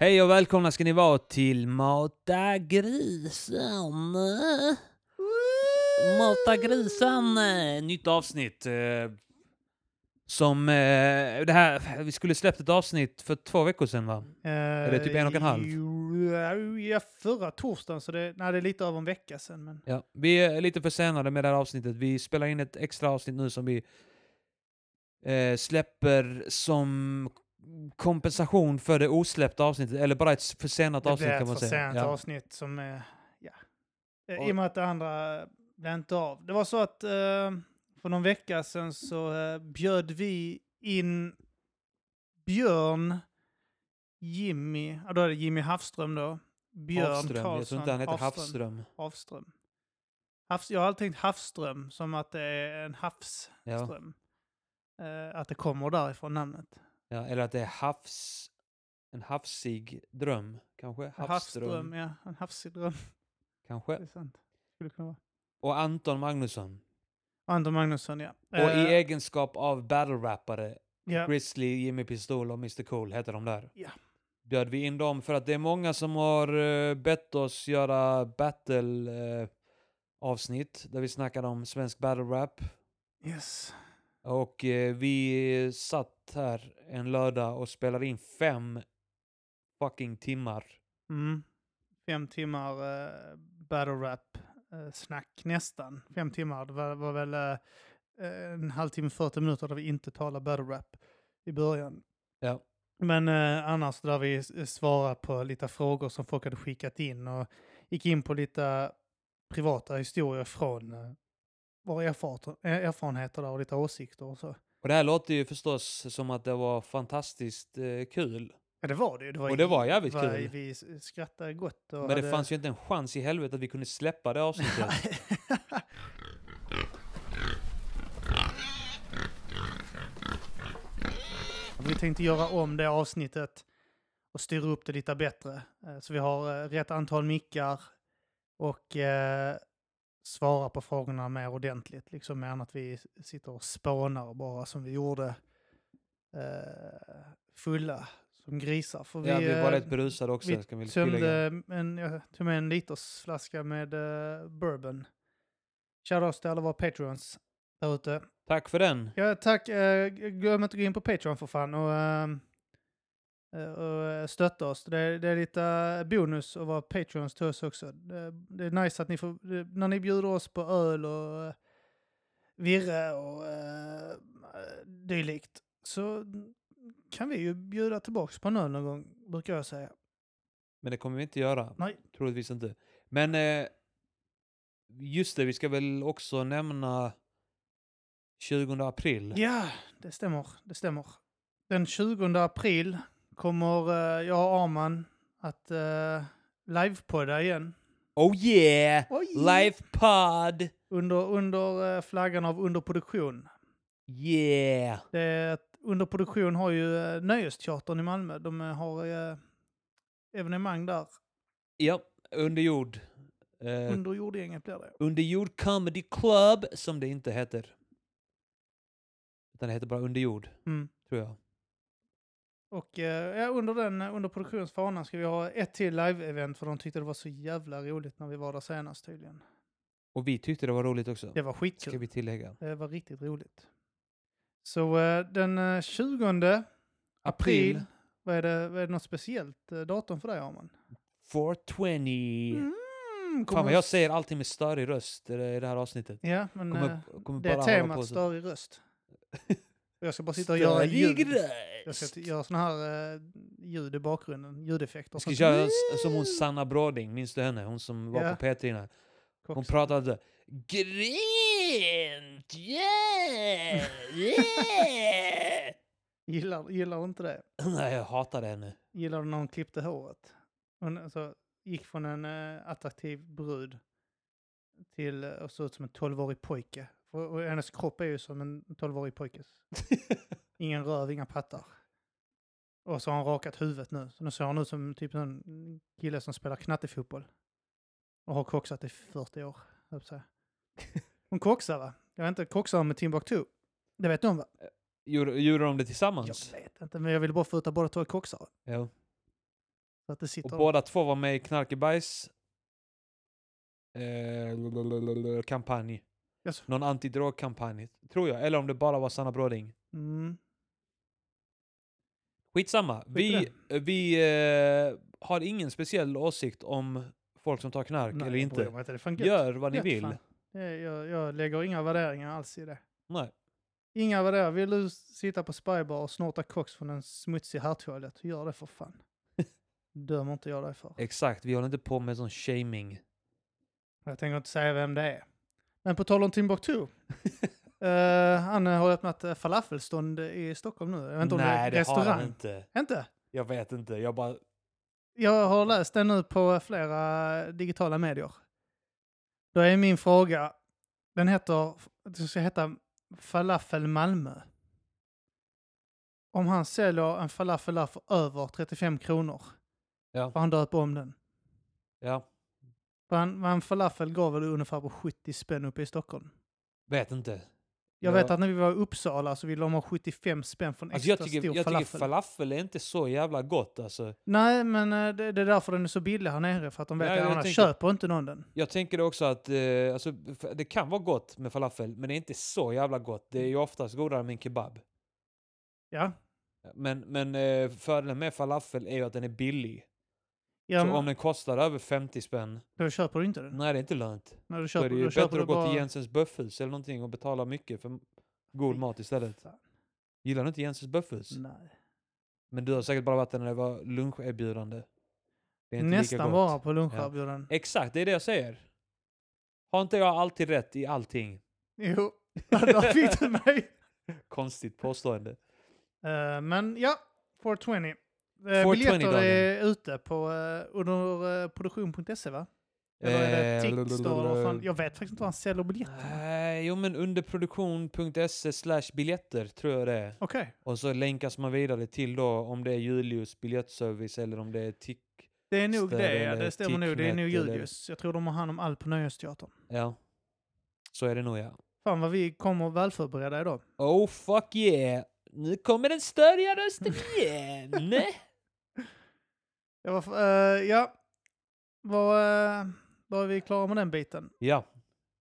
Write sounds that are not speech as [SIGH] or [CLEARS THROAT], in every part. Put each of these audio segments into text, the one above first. Hej och välkomna ska ni vara till Mata grisen. Mata grisen. Nytt avsnitt. eh, Som eh, det här, vi skulle släppt ett avsnitt för två veckor sedan va? Är det typ en och en halv? Eh, Ja, förra torsdagen, så det, nej, det är lite över en vecka sedan. Men Ja, vi är lite försenade med det här avsnittet. Vi spelar in ett extra avsnitt nu som vi eh, släpper som kompensation för det osläppta avsnittet, eller bara ett försenat det avsnitt blir kan ett man säga. försent Ja. avsnitt som är... Ja. Eh, Och- I och med att det andra blev inte av. Det var så att eh, för någon vecka sedan så eh, bjöd vi in Björn, Jimmy, ja då är det Jimmy Hafström då. Björn Havström, Karlsson. jag tror inte han heter Hafström. Havström. Havström. Havs, jag har alltid tänkt Havström som att det är en havsström. Ja. Eh, att det kommer därifrån namnet. Ja, eller att det är havs... En havsig dröm, kanske? Havsdröm, Havsström, ja. En havsig dröm. Det kanske? är sant. Skulle det kunna vara. Och Anton Magnusson. Anton Magnusson, ja. Och i Eh, egenskap av battle-rappare, ja. Grizzly, Jimmy Pistol och Mr Cool heter de där. Ja. Bjöd vi in dem för att det är många som har eh, bett oss göra battle-avsnitt där vi snackade om svensk battle-rap. Yes. Och eh, vi satt här en lördag och spelade in fem fucking timmar. Mm. Fem timmar eh, battle rap eh, snack nästan. Fem timmar. Det var, var väl eh, en halvtimme, 40 minuter där vi inte talade battle rap i början. Ja. Men eh, annars där vi s- svarade på lite frågor som folk hade skickat in och gick in på lite privata historier från eh, våra erfar- eh, erfarenheter där och lite åsikter och så. Och det här låter ju förstås som att det var fantastiskt eh, kul. Ja, det var det ju. Och det var jävligt kul. Vi s- skrattade gott. Och Men det fanns ju inte en chans i helvete att vi kunde släppa det [LAUGHS] avsnittet. Vi tänkte göra om det avsnittet och styra upp det lite bättre. Eh, Så vi har eh, rätt antal mickar och eh, svara på frågorna mer ordentligt. Liksom mer än att vi sitter och spånar bara som vi gjorde eh, fulla som grisar. För ja, vi var eh, rätt berusade också. vi ska vi tillägga. tömde en, jag tog med en liters flaska med eh, bourbon. Shoutouts till alla våra patreons där ute. Tack för den. Ja, tack. Eh, glöm inte att gå in på Patreon för fan och, ehm, eh, och eh, stötta oss. Det är, det är lite eh, bonus att vara Patreons till oss också. Det, det är nice att ni får, det- när ni bjuder oss på öl och eh, virre och eh, dylikt så kan vi ju bjuda tillbaks på en öl någon gång, brukar jag säga. Men det kommer vi inte göra. Nej. Troligtvis inte. Men eh, just det, vi ska väl också nämna 20 april. Ja, det stämmer. Det stämmer. Den 20 april kommer eh, jag och Arman att eh, livepodda igen. Oh yeah! Oj! Live pod! Under, under eh, flaggan av underproduktion. Yeah! Det är att underproduktion har ju eh, Nöjesteatern i Malmö. De eh, har eh, evenemang där. Ja, under jord. Eh, Under jordgänget blir det. Under jord comedy club, som det inte heter. Utan det heter bara under jord, Mm. tror jag. Och eh, ja, under den eh, under produktionsfanan ska vi ha ett till live-event för de tyckte det var så jävla roligt när vi var där senast tydligen. Och vi tyckte det var roligt också. Det var skitkul. Ska vi tillägga. Det Eh, var riktigt roligt. Så eh, den eh, 20 april, vad är, det, vad är det något speciellt eh, datum för dig Arman? 420. Mm, Fan kommer vad jag säger alltid med störig röst i det i det här avsnittet. Ja, men eh, Kommer, kommer det är bara hålla på temat så. [LAUGHS] störig röst. Jag ska bara sitta och göra Störig ljud. Jag röst. ska t- göra såna här eh, ljud i bakgrunden, ljudeffekter. Jag ska Sånt- köra s- som hon Sanna Bråding, minns du henne? Hon som var Ja. på P3 innan. Hon Koks. pratade Gris! fint! Yeah! Yeah! Gillar, gillar inte det. [CLEARS THROAT] Nej, jag hatar det nu. Gillar du när hon klippte håret? Hon alltså, gick från en eh, attraktiv brud till eh, att se ut som en 12-årig pojke. Och, och hennes kropp är ju som en [LAUGHS] 12-årig pojkes. Ingen röv, inga pattar. Och så har hon rakat huvudet nu. Så nu ser hon ut som typ en kille som spelar knattefotboll. Och har koksat i 40 år, höll jag på att säga. Hon koksar va? Jag vet inte, koksar hon med Timbuktu? Det vet de va? Gjorde, gjorde de det Jag tillsammans? vet inte, men jag ville bara få ut att båda två är koksare. Ja. Så att det sitter Och båda två var med i Knarkebajs eh, kampanj. Jaså? Någon antidrogkampanj, tror jag. Eller om det bara var Sanna Bråding. Mm. Skitsamma. i Vi, vi eh, har ingen speciell åsikt om folk som tar knark Nej, eller jag bryr inte. mig inte. Det är fan gött. Gör vad ni Gött, vill. fan. Det är- Jag, jag lägger inga värderingar alls i det. Nej. Inga värderingar. Vill du sitta på spybar och snorta koks från en smutsig herrtoalett, gör det [LAUGHS] för fan. Dömer inte jag dig för. Exakt, vi håller inte på med sån shaming. Jag tänker inte säga vem det är. Men på tal [LAUGHS] om Timbuktu. eh, han har öppnat eh, falafelstånd i Stockholm nu. Jag vet inte om Nej, det är har restaurang. han inte. Inte? Jag vet inte, jag bara... Jag har läst det nu på flera digitala medier. Då är min fråga, den heter, det ska heta Falafel Malmö. Om han säljer en falafel där för över 35 kronor, Ja. får han döpa om den. Ja, För han, en falafel går väl ungefär på 70 spänn uppe i Stockholm. vet inte. Jag Ja. vet att när vi var i Uppsala så ville de ha 75 spänn för en Alltså extra jag tycker, stor jag falafel. tycker falafel är inte så jävla gott alltså. Nej, men eh, det, det är därför den är så billig här nere, för att de vet Ja, att jag annars tänker- köper inte någon den. Jag tänker också att eh, alltså, f- det kan vara gott med falafel, men det är inte så jävla gott. Det är ju oftast godare med en kebab. Ja. Men, men eh, fördelen med falafel är ju att den är billig. Ja, Så men- om den kostar över 50 spänn, Då köper du inte den. nej det är inte lönt. När du Då köper, är det då ju köper bättre du att gå bara... till Jensens böffhus eller någonting och betala mycket för god Mm. mat istället. Fan, Gillar du inte Jensens böffhus? Nej. Men du har säkert bara varit där när det var luncherbjudande. Det är inte lika Nästan gott. bara på luncherbjudanden. [LAUGHS] Exakt, det är det jag säger. Har inte jag alltid rätt i allting? Jo, där fick du mig. Konstigt påstående. Eh, men ja, 420. Uh, 420 biljetter dagen. är ute på eh, under eh, produktion.se va? Eller är det Eh, Tickstore? eller vad fan? Jag vet faktiskt inte vad han säljer biljetter. Nej, jo men underproduktion.se slash biljetter tror jag det är. Okej, Och så länkas man vidare till då om det är Julius biljettservice eller om det är Tick... det är nog Stör det. Ja, eller det stämmer nog. Det är nog Ticknet eller- Julius. Jag tror de har hand om allt på Nöjesteatern. Ja. Så är det nog ja. Fan vad vi kommer välförberedda idag. Oh fuck yeah! Nu kommer den störiga rösten igen! [LAUGHS] Jag var, f- eh, ja, var, uh, var vi klara med den biten? ja.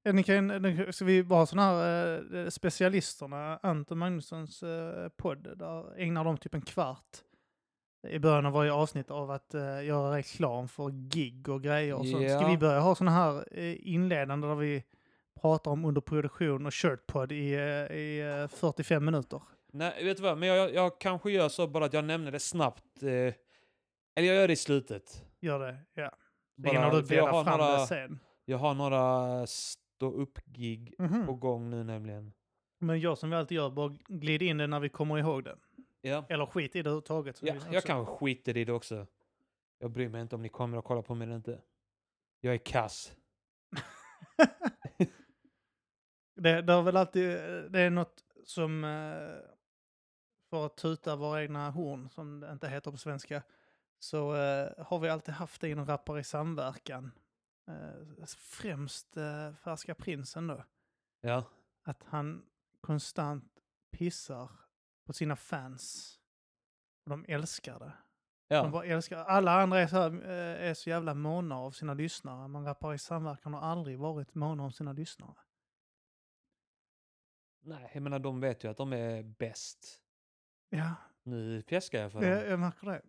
Ja, Ni kan, ni- ska vi bara ha sådana här eh, specialisterna, Anton Magnussons eh, podd, där ägnar de typ en kvart i början av varje avsnitt av att eh, göra reklam för gig och grejer och sånt. Ska Ja. vi börja ha sådana här eh, inledande där vi pratar om underproduktion och shirtpodd i, eh, i eh, 45 minuter? Nej, vet du vad? Men jag, jag, jag kanske gör så bara att jag nämner det snabbt. Eh, eller jag gör det i slutet. Gör det, ja. Bara, Innan du för jag, delar har fram det några, sen. jag har några stå-upp-gig Mhm. på gång nu nämligen. Men jag som vi alltid gör, bara glid in det när vi kommer ihåg det. Ja. Eller skit i det överhuvudtaget. så Ja, vi- jag kanske skiter i det också. Jag bryr mig inte om ni kommer och kollar på mig eller inte. Jag är kass. Det, det har väl alltid, det är något som, eh, för att tuta våra egna horn, som det inte heter på svenska, så eh, har vi alltid haft det inom Rappar i samverkan. Eh, Främst eh, Färska Prinsen då, Ja. att han konstant pissar på sina fans. Och de älskar det. De Ja. bara älskar, alla andra är så, här, eh, är så jävla måna av sina lyssnare, men Rappar i samverkan har aldrig varit måna om sina lyssnare. Nej, jag menar de vet ju att de är bäst. Ja, Nu fjäskar jag för Ja, dem. jag märker det.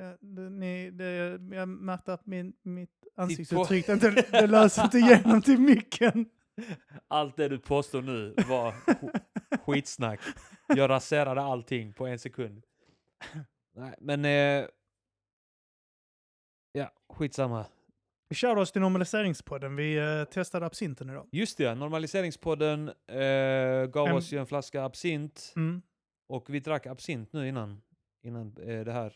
Ja, det, ni, det. Jag märkte att min, mitt på- ansiktsuttryck det inte, det [LAUGHS] löser inte igenom till micken. Allt det du påstår nu var sk- [LAUGHS] skitsnack. Jag raserade allting på en [LAUGHS] sekund. Nej, men... Eh, ja, skitsamma. Shoutout till normaliseringspodden. Vi eh, testade absinten idag. Just det, normaliseringspodden eh, gav En- oss ju en flaska absint Mm. och vi drack absint nu innan, innan eh, det här.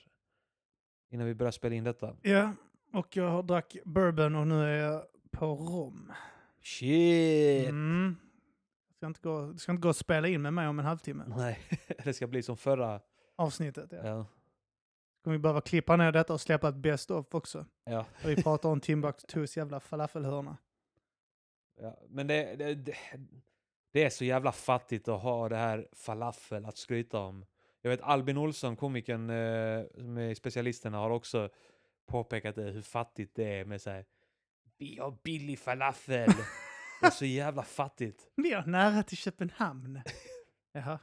Innan vi började spela in detta. Ja, och jag har drack bourbon och nu är jag på rom. Shit! Mm. Ska inte gå, det ska inte gå att spela in med mig om en halvtimme. Nej, [LAUGHS] det ska bli som förra. Avsnittet, ja. Ja. Kommer vi behöva klippa ner detta och släppa ett best of också. Ja. Där vi pratar om Timbuktus jävla falafelhörna. Ja, men det, det, det, det är så jävla fattigt att ha det här falafel att skryta om. Jag vet Albin Olsson, komikern eh, som är specialisterna, har också påpekat det, hur fattigt det är med så här, vi har billig [LAUGHS] falafel. det är så jävla fattigt. Vi är nära [LAUGHS] till Köpenhamn. Jaha,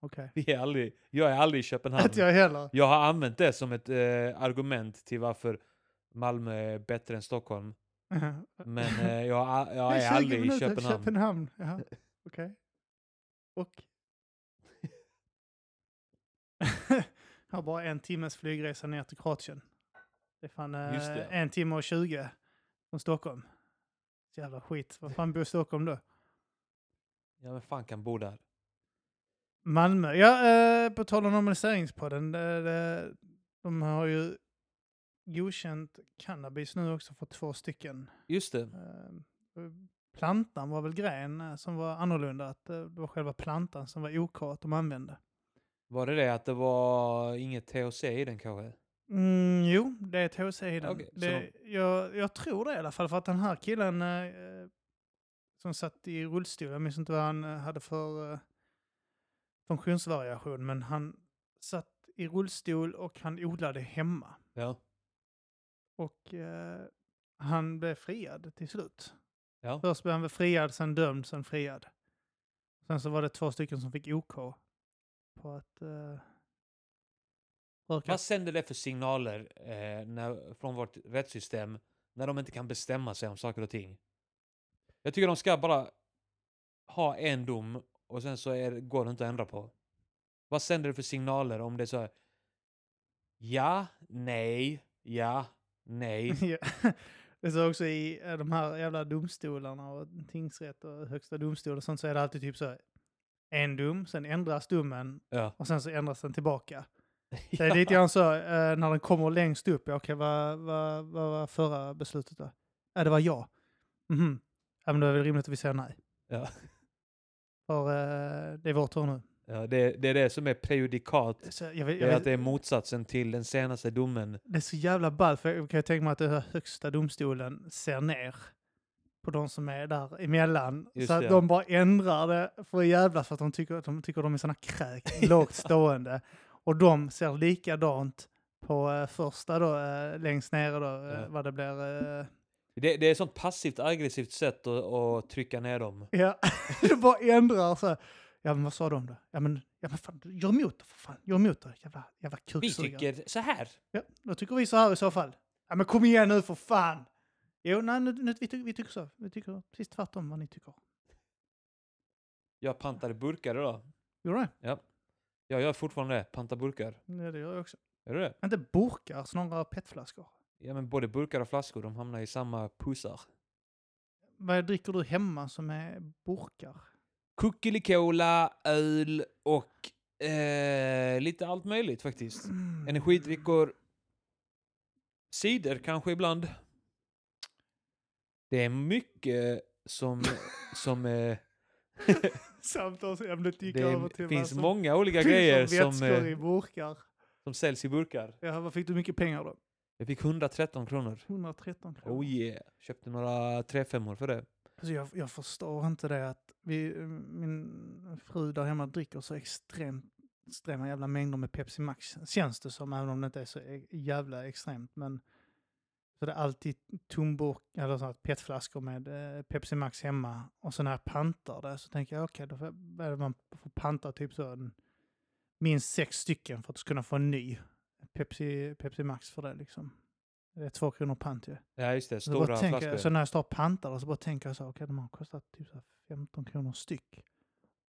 okej. Vi är aldrig, jag är aldrig i Köpenhamn. Att jag heller. Jag har använt det som ett eh, argument till varför Malmö är bättre än [LAUGHS] Stockholm. Men eh, jag, har- jag Det är 20 aldrig i minuter till Köpenhamn. Köpenhamn. Jaha, okej. [LAUGHS] Och? jag har bara en timmes flygresa ner till Kroatien. Det är fan eh, Just det. en timme och tjugo från Stockholm. Så jävla skit. Vad fan bor Stockholm då? Ja, men fan kan bo där? Malmö. Ja, eh, på tal om normaliseringspodden. Det, det, de har ju godkänt cannabis nu också för två stycken. Just det. Eh, plantan var väl grejen eh, som var annorlunda. Att eh, det var själva plantan som var OK att de använde. Var det det att det var inget THC i den kanske? Mm, jo, det är THC i den. Okej, så det, jag, jag tror det i alla fall, för att den här killen eh, eh, som satt i rullstol, jag minns inte vad han eh, hade för eh, funktionsvariation, men han satt i rullstol och han odlade hemma. Ja. Och eh, han blev friad till slut. Ja. Först blev han väl friad, sen dömd, sen friad. Sen så var det två stycken som fick OK på att eh, röka. Vad sänder det för signaler eh, när, från vårt rättssystem när de inte kan bestämma sig om saker och ting? Jag tycker de ska bara ha en dom och sen så är, går det inte att ändra på. Vad sänder det för signaler om det är så här, ja, nej, ja, nej. Ja. Det står också i eh, de här jävla domstolarna och tingsrätt och högsta domstol och sånt så är det alltid typ så här en dom, sen ändras domen Ja. och sen så ändras den tillbaka. [LAUGHS] Det är lite grann så eh, när den kommer längst upp, ja, okej vad, vad, vad var förra beslutet då? Ja det var ja. Mhm. Ja men då är det väl rimligt att vi säger nej. Ja. För eh, det är vår tur nu. Ja, det, det är det som är prejudikat. Så jag, vet- Det jag är vet- att det är motsatsen till den senaste domen. Det är så jävla ball för jag kan ju tänka mig att den här högsta domstolen ser ner på de som är där emellan. Just så att det. de bara ändrar det för att jävlas för att de tycker att de, tycker de är [LAUGHS] såna kräk, lågt stående. Och de ser likadant på eh, första då, eh, längst ner då, eh, Ja. vad det blir. eh, Det, det är ett sånt passivt aggressivt sätt att, att trycka ner dem. ja, [LAUGHS] det bara ändrar så här. Ja men vad sa de då? Ja men, ja, men fan, gör emot det för fan, gör emot det, jävla, jävla Vi kuksugare. tycker så här. Ja, då tycker vi så här i så fall. Ja, men kom igen nu för fan! Jo, nej, nu, nu, vi, tycker, vi tycker så. Vi tycker precis tvärtom vad ni tycker. Jag pantade burkar idag. Gjorde det? Ja, jag gör fortfarande det. Panta burkar. Ja, det gör jag också. Är du det? Inte burkar, snarare petflaskor. Ja, men både burkar och flaskor, de hamnar i samma pussar. Vad dricker du hemma som är burkar? Kuckelikola, öl och eh, lite allt möjligt faktiskt. Mm. Energidrycker. Cider kanske ibland. Det är mycket [LAUGHS] som... som eh, [LAUGHS] Samtalsämnet gick det över till är, vad finns som- många olika finns alltså. [LAUGHS] grejer som som, vätskor eh, i burkar. som säljs i burkar. Ja, vad fick du mycket pengar då? Jag fick 113 kronor. 113 kronor. Oh yeah. Köpte några 3-5 för det. Alltså jag, jag förstår inte det att vi, min fru där hemma dricker så extremt extrema jävla mängder med Pepsi Max. Känns det som, även om det inte är så e- jävla extremt. Men så det är alltid tomburk, eller sådana petflaskor med eh, Pepsi Max hemma. Och så när jag pantar det så tänker jag okej, då får jag- vad är det man får panta typ så en, minst sex stycken för att kunna få en ny Pepsi, Pepsi Max för det liksom. Det är två kronor pant ju. Ja just det, Så, bara stora tänker, jag- så flaskor. när jag står och pantar så bara tänker jag så, okej de har kostat typ så här 15 kronor styck.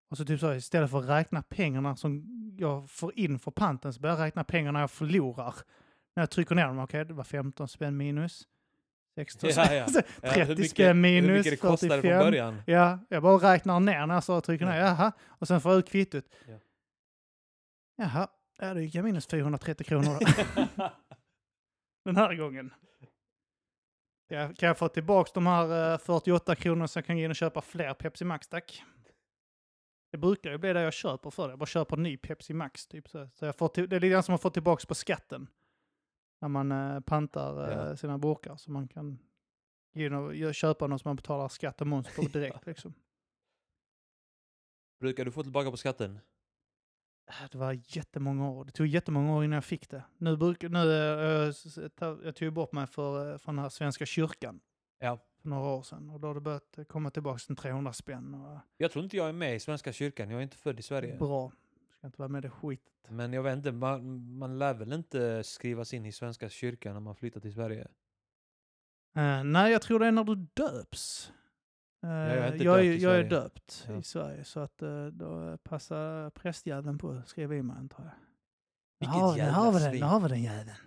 Och så typ så istället för att räkna pengarna som jag får in för panten så börjar jag räkna pengarna jag förlorar. När jag trycker ner dem, okej det var 15 spänn minus. Extra. Ja, ja. Ja, hur 30 mycket- spänn Hur minus, mycket det kostade 45. från [LAUGHS] början. Ja, jag bara räknar ner när jag står och trycker ner. Jaha, och sen får jag ut kvittot. Ja. Jaha, ja, då gick jag minus 430 kronor då. den här gången. Ja, kan jag få tillbaka de här eh, 48 kronorna så jag kan gå in och köpa fler Pepsi Max, tack? Det brukar ju bli det jag köper för det. Jag bara köper ny Pepsi Max, typ så. så jag får till, det är lite grann som att få tillbaka på skatten. När man eh, pantar eh, Ja. sina burkar så man kan gå in och gö- köpa något som man betalar skatt och [LAUGHS] moms på direkt. liksom. Brukar du få tillbaka på skatten? Äh, Det var jättemånga år. Det tog jättemånga år innan jag fick det. Nu brukar, nu, eh, s- s- ta- jag tog ju bort mig för, eh, från den här Svenska kyrkan Ja. för några år sedan. Och då har det börjat eh, komma tillbaka till 300 spänn. Och, eh, Jag tror inte jag är med i Svenska kyrkan, jag är inte född i Sverige. bra. Ska inte vara med i det skit. Men jag vet inte, man, man lär väl inte skrivas in i Svenska kyrkan när man flyttar till Sverige? Eh, nej, jag tror det är när du döps. Eh, jag är inte jag, är, döpt i jag är Sverige. döpt Ja. i Sverige. Så att eh, då passar prästjäveln på att skriva in mig antar jag. Vilket Ja, nu jävla har vi den, svin. nu har vi den jäveln.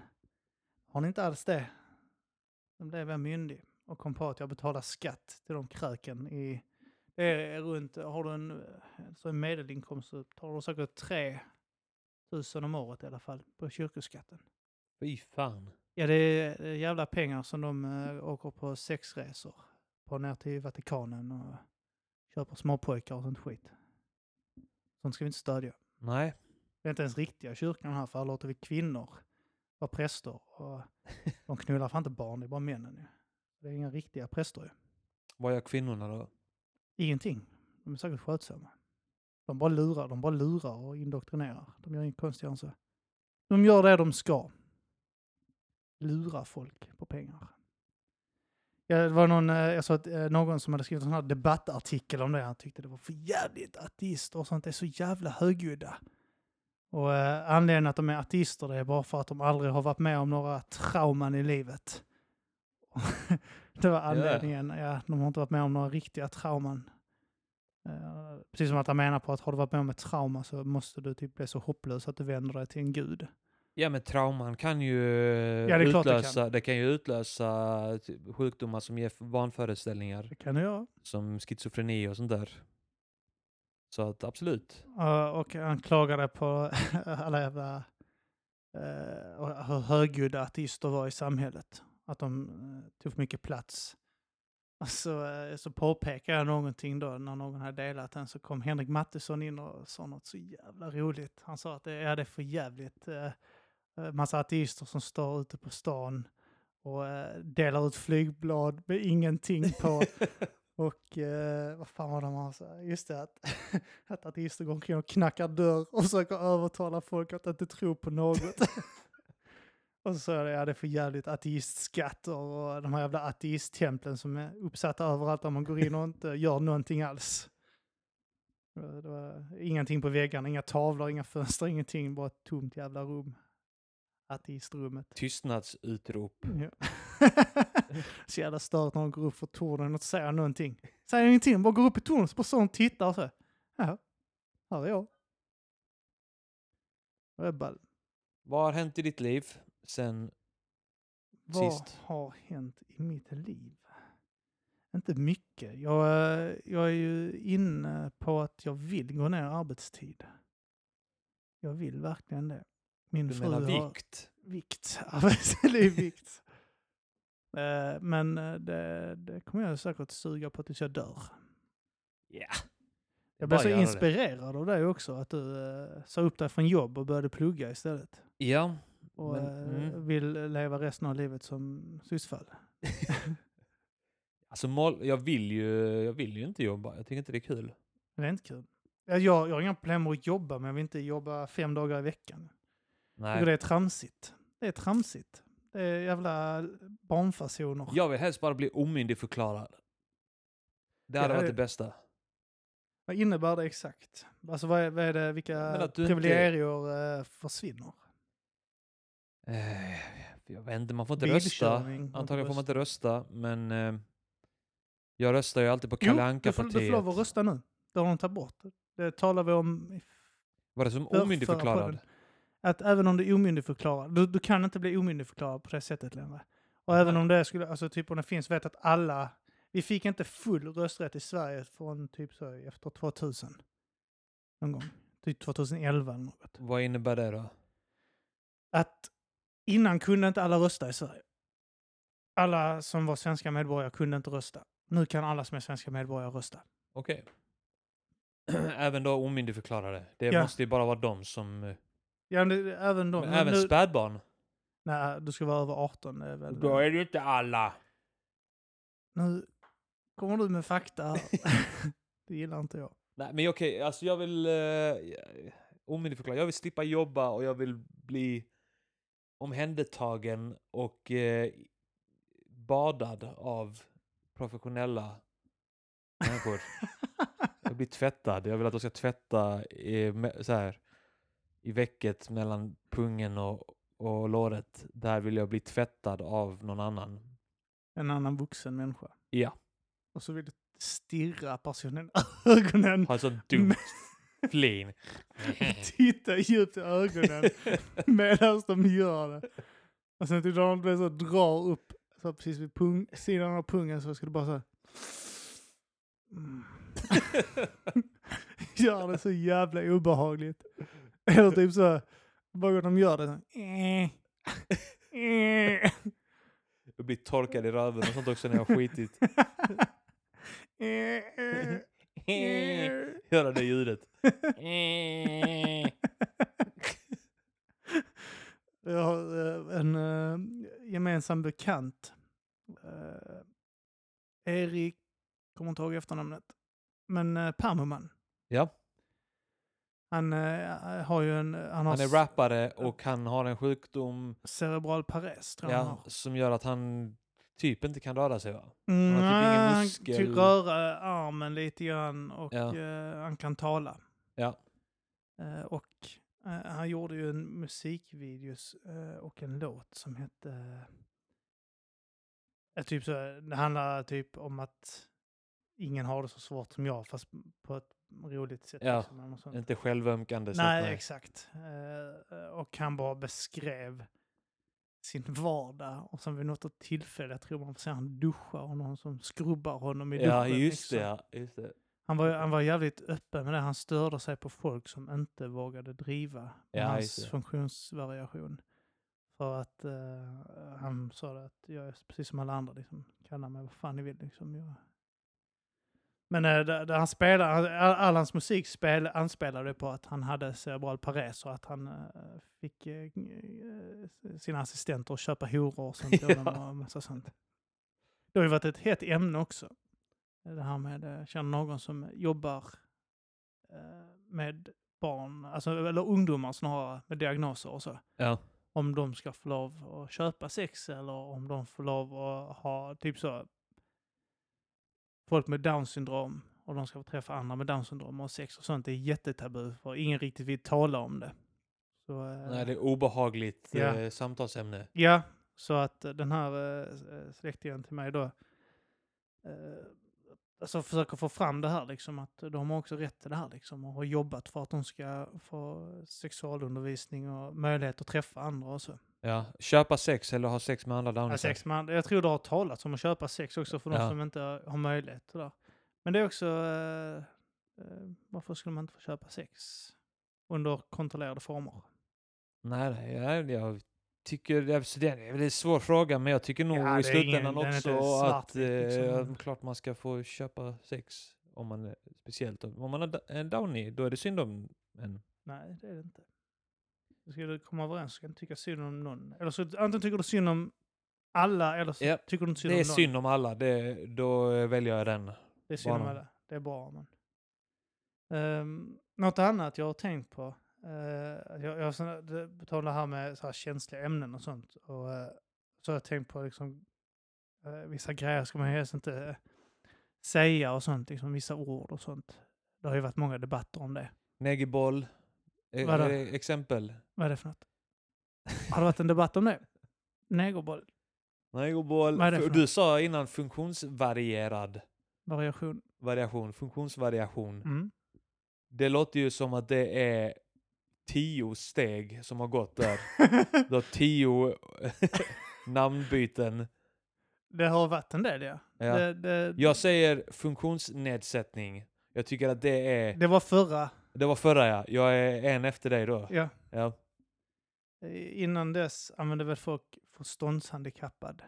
Har ni inte alls det? Sen blev jag myndig och kom på att jag betalar skatt till de kröken i... Det är runt, har du en, så en medelinkomst så tar du säkert 3 000 om året i alla fall på kyrkoskatten. Fy fan. Ja, det är det är jävla pengar som de eh, åker på sexresor på ner till Vatikanen och köper småpojkar och sånt skit. Sånt ska vi inte stödja. Nej. Det är inte ens riktiga kyrkan här, för här låter vi kvinnor vara präster. Och de knullar fan inte barn, det är bara männen ju. Det är inga riktiga präster ju. Vad gör kvinnorna då? Ingenting. De är säkert skötsamma. De bara lurar, de bara lurar och indoktrinerar. De gör inget konstigare än så. De gör det de ska. Lura folk på pengar. Ja, det var någon, eh, jag såg att eh, någon som hade skrivit en sån här debattartikel om det. Han tyckte det var för jävligt att ateister och sånt är så jävla högljudda. Och eh, anledningen att de är ateister det är bara för att de aldrig har varit med om några trauman i livet. [LAUGHS] det var anledningen. Ja, de har inte varit med om några riktiga trauman. Eh, precis som att han menar på att har du varit med om ett trauma så måste du typ bli så hopplös att du vänder dig till en gud. Ja men trauman kan ju Ja, det är klart det kan. utlösa, det kan. ju utlösa typ, sjukdomar som ger vanföreställningar. Det kan du göra. Som schizofreni och sånt där. Så att absolut. Ja, och han klagade på [LAUGHS] alla jävla eh, och hur högljudda ateister var i samhället. Att de eh, tog för mycket plats. Alltså, eh, så påpekade jag någonting då när någon hade delat den så kom Henrik Mattisson in och sa något så jävla roligt. Han sa att det ja, det är för jävligt. eh, eh, Massa ateister som står ute på stan och eh, delar ut flygblad med ingenting på. Och eh, vad fan var det man sa? Just det, att, att ateister går omkring och knackar dörr och försöker övertala folk att inte tro på något. och så sa jag det, ja, det är för jävligt ateistskatter och de här jävla ateisttemplen som är uppsatta överallt där man går in och inte gör någonting alls. Eh, Det var ingenting på väggarna, inga tavlor, inga fönster, ingenting, bara ett tomt jävla rum. Ateistrummet. Tystnadsutrop. Ja. [LAUGHS] så jävla stört när de går upp för tornen och inte säger någonting. Säger ingenting, bara går upp i tornet och bara står och tittar och så. Ja, här är jag. Det är ball. Vad har hänt i ditt liv sen... Vad Sist. har hänt i mitt liv? Inte mycket. Jag, eh, jag är ju inne på att jag vill gå ner i arbetstid. Jag vill verkligen det. Min Du fru menar har... vikt? vikt. [LAUGHS] Arbetsliv vikt. Eh, Men eh, det, det kommer jag säkert suga på tills jag dör. Ja. Jag blev Bara så göra det. inspirerad av dig också, att du eh, sa upp dig från jobb och började plugga istället. Ja. Och Men, eh, mm. vill leva resten av livet som syssfall. Alltså mål, jag vill ju, jag vill ju inte jobba. Jag tycker inte det är kul. Men Det är inte kul. Ja, Jag, jag har inga problem med att jobba, men jag vill inte jobba fem dagar i veckan. Jag Nej. tycker det är tramsigt. Det är tramsigt. Det är jävla barnfasoner. Jag vill helst bara bli omyndigförklarad. Det hade Ja, varit det- det bästa. Vad innebär det exakt? Alltså vad är, vad är det, Men vilka att du inte- privilegier eh, försvinner? Eh, jag vet inte, man får inte rösta. Bilkörning, Antagligen får man rösta. inte rösta, men eh, jag röstar ju alltid på Kalle Jo, du får, du får Anka-partiet. lov att rösta nu. Det har de tagit bort. Det talar vi om i Var det som förra omyndigförklarad? podden. Att även om du är omyndigförklarad, du, du kan inte bli omyndigförklarad på det sättet längre. Och även om det skulle, alltså typ om det finns, vet att alla, vi fick inte full rösträtt i Sverige från typ så här efter 2000. Någon gång. Typ 2011 eller något. Vad innebär det då? Att innan kunde inte alla rösta i Sverige. Alla som var svenska medborgare kunde inte rösta. Nu kan alla som är svenska medborgare rösta. Okej. [CLEARS THROAT] Även då omyndigförklarade. Det Ja. måste ju bara vara de som... eh, Ja, nu, även de. men men även nu, spädbarn. nej, du ska vara över 18. Är väl, det ju inte alla. Nu kommer du med fakta [LAUGHS] här. det gillar inte jag. Nej men okej, alltså jag vill... Uh, omyndigförklara. Jag vill slippa jobba och jag vill bli omhändertagen och eh, badad av professionella människor. Jag blir tvättad. Jag vill att de ska tvätta i, me- så här, i vecket mellan pungen och, och låret. Där vill jag bli tvättad av någon annan. en annan vuxen människa. Ja. Och så vill du stirra personen i [LAUGHS] ögonen. Ha ett sånt dumt flin. Eh. Titta djupt i ögonen medan de gör det. Och sen till Donald Blair så drar upp så här precis vid pung, sidan av pungen så ska du bara så här. Mm. [LAUGHS] gör det så jävla obehagligt. Eller typ så här. Bara när de gör det så här. eh, Jag blir torkad i röven och sånt också när jag har skitit. eh, Göra det ljudet. Jag har eh, en eh, gemensam bekant. Eh, Erik, kommer inte ihåg efternamnet, men eh, Permoman. Ja. Han eh, har ju en, han har Han är rappare och han har en sjukdom cerebral pares tror jag han ja, har. som gör att han typ inte kan röra sig va? Mm, typ ingen han muskel. kan röra armen lite grann och Ja. eh, han kan tala. Ja. Eh, och eh, han gjorde ju en musikvideos eh, och en låt som hette... eh, typ så, här, det handlar typ om att ingen har det så svårt som jag, fast på ett roligt sätt. Ja, liksom, eller något sånt. Inte självömkande. så Nej, att, exakt. Eh, och han bara beskrev sin vardag. Och sen vid något tillfälle, jag tror man får se han duschar och någon som skrubbar honom i duschen. Ja, just det, liksom. ja, just det. Han, var, han var jävligt öppen med det. Han störde sig på folk som inte vågade driva med Ja, just hans det. funktionsvariation. För att eh, han sa det att jag är precis som alla andra, liksom, kalla mig vad fan ni vill. Liksom, jag... Men eh, där, där han spelar, all, all hans musik spel, anspelade på att han hade cerebral pares och att han eh, fick eh, eh, sina assistenter att köpa horor och sånt. [LAUGHS] till honom och massa sånt. Det har ju varit ett hett ämne också. Det här med, eh, känner någon som jobbar eh, med barn, alltså, eller ungdomar snarare, med diagnoser och så. Ja. Om de ska få lov att köpa sex eller om de får lov att ha typ så folk med down syndrom och de ska få träffa andra med down syndrom och sex och sånt. Det är jättetabu för ingen riktigt vill tala om det. Så, eh, Nej, det är obehagligt Ja. eh, samtalsämne. Ja, så att eh, den här eh, släktingen till mig då eh, alltså försöker få fram det här liksom att de har också rätt till det här liksom och har jobbat för att de ska få sexualundervisning och möjlighet att träffa andra och så. Ja. Köpa sex eller ha sex med andra Ja, downisar. sex med andra. Jag tror det har talats om att köpa sex också för de Ja. som inte har möjlighet till det. Men det är också, eh, eh, varför skulle man inte få köpa sex under kontrollerade former? Nej, nej, jag, jag tycker... Jag, så det är det är en svår fråga, men jag tycker nog Ja, det är i slutändan ingen- den är också inte svart, att eh, liksom. att klart man ska få köpa sex. Om man, är- speciellt om om man är da- en downie, då är det synd om en. Nej, det är det inte. Du ska du komma överens ska du inte tycka synd om någon. Eller så antingen tycker du synd om alla eller så Ja, tycker du inte synd Det är om någon. synd om alla, det, då eh, väljer jag den. Det är synd om Bara någon. alla. Det är bra om man. Um, något annat jag har tänkt på. eh, jag jag har såna- det- på tal om det här med så här känsliga ämnen och sånt. Och, eh, så har jag tänkt på liksom, eh, vissa grejer ska man helst inte säga och sånt. Liksom, vissa ord och sånt. Det har ju varit många debatter om det. Negiboll. Eh, Vadå? eh, Exempel. Vad är det för något? Har det varit en debatt om det? Negerboll? Negiboll. Vad är det För- för Du något? sa innan funktionsvarierad Variation? variation. Funktionsvariation. [LAUGHS] Mm. Det låter ju som att det är tio steg som har gått där. Du har tio [LAUGHS] namnbyten Det har varit en del, ja. Ja. Det, det, Jag säger funktionsnedsättning. Jag tycker att det är... det var förra. Det var förra ja. Jag är en efter dig då. Ja. Ja. Innan dess använde väl folk förståndshandikappad.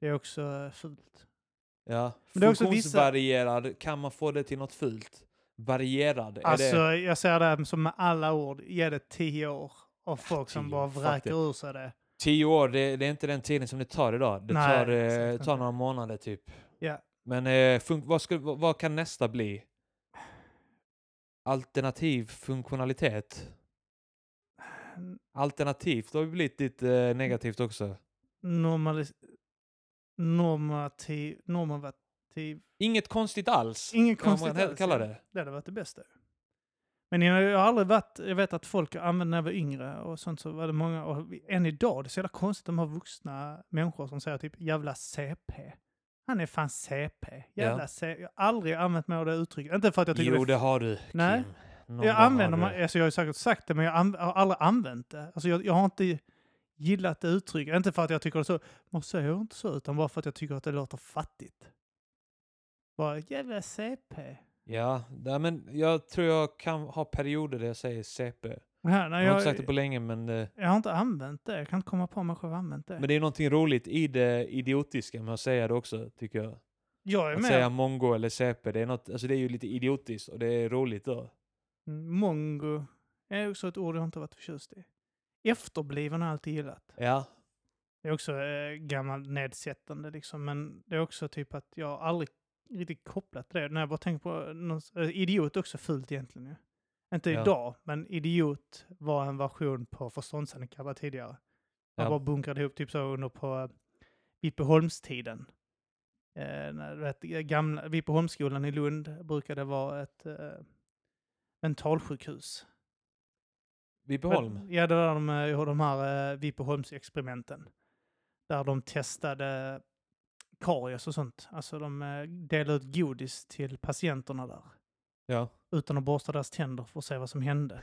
Det är också eh, fult. ja. Men det är också vissa- Funktionsvarierad, kan man få det till något fult? Varierad? Alltså, är det... jag säger det här som med alla ord. Ge det tio år av folk som Ah, tio bara år, fuck vräker det. ur sig det. Tio år, det, det är inte den tiden som det tar idag. Det Nej, tar, eh, exakt tar inte. några månader typ. Ja. Men eh, fun- vad, skulle, vad, vad kan nästa bli? Alternativ funktionalitet? Alternativt har ju blivit lite eh, negativt också. Normalis- normativ, normativ. Inget konstigt alls. Inget kan konstigt man he- alls, kalla ja. det. Det hade varit det bästa. Men jag jag har aldrig varit, jag vet att folk använde när jag var yngre och sånt så var det många, och än idag, det är så jävla konstigt de har vuxna människor som säger typ jävla CP. Han är fan CP. Jävla Ja. CP. Jag har aldrig använt mig av det uttrycket. Inte för att jag tycker Jo, det det är... har du. Nej. Kim. Någon Jag gång använder har du mig, alltså jag har ju säkert sagt det, men jag anv- har aldrig använt det. Alltså jag, jag har inte gillat det uttrycket. Inte för att jag tycker det är så, man säger inte så, utan bara för att jag tycker att det låter fattigt. Bara jävla CP. Ja, nej, men jag tror jag kan ha perioder där jag säger CP. Ja, nej, Jag har inte jag, sagt det på länge, men, eh, jag har inte använt det. Jag kan inte komma på om jag själv har använt det. men det är någonting roligt i det idiotiska med att säga det också, tycker jag. jag är Att med. säga mongo eller CP, det är, något, alltså det är ju lite idiotiskt och det är roligt då. Mm, Mongo är också ett ord jag inte varit förtjust i. Efterbliven har jag alltid gillat. Ja, Det är också eh, gammalt nedsättande liksom, men det är också typ att jag har aldrig riktigt kopplat det. När jag bara tänker på någon, eh, idiot är också fult egentligen ju. Inte Ja. idag, men idiot var en version på förståndshandikappad tidigare. Man Ja. bara bunkrade ihop typ så under på eh, Vipeholmstiden. Eh, när, du vet, gamla, Vipeholmsskolan i Lund brukade vara ett eh, mentalsjukhus. Vibeholm. Men- Ja, det var de, eh, de här eh, Vipeholmsexperimenten. Där de testade karies och sånt. Alltså de eh, delade ut godis till patienterna där. Ja. Utan att borsta deras tänder för att se vad [LAUGHS] som hände.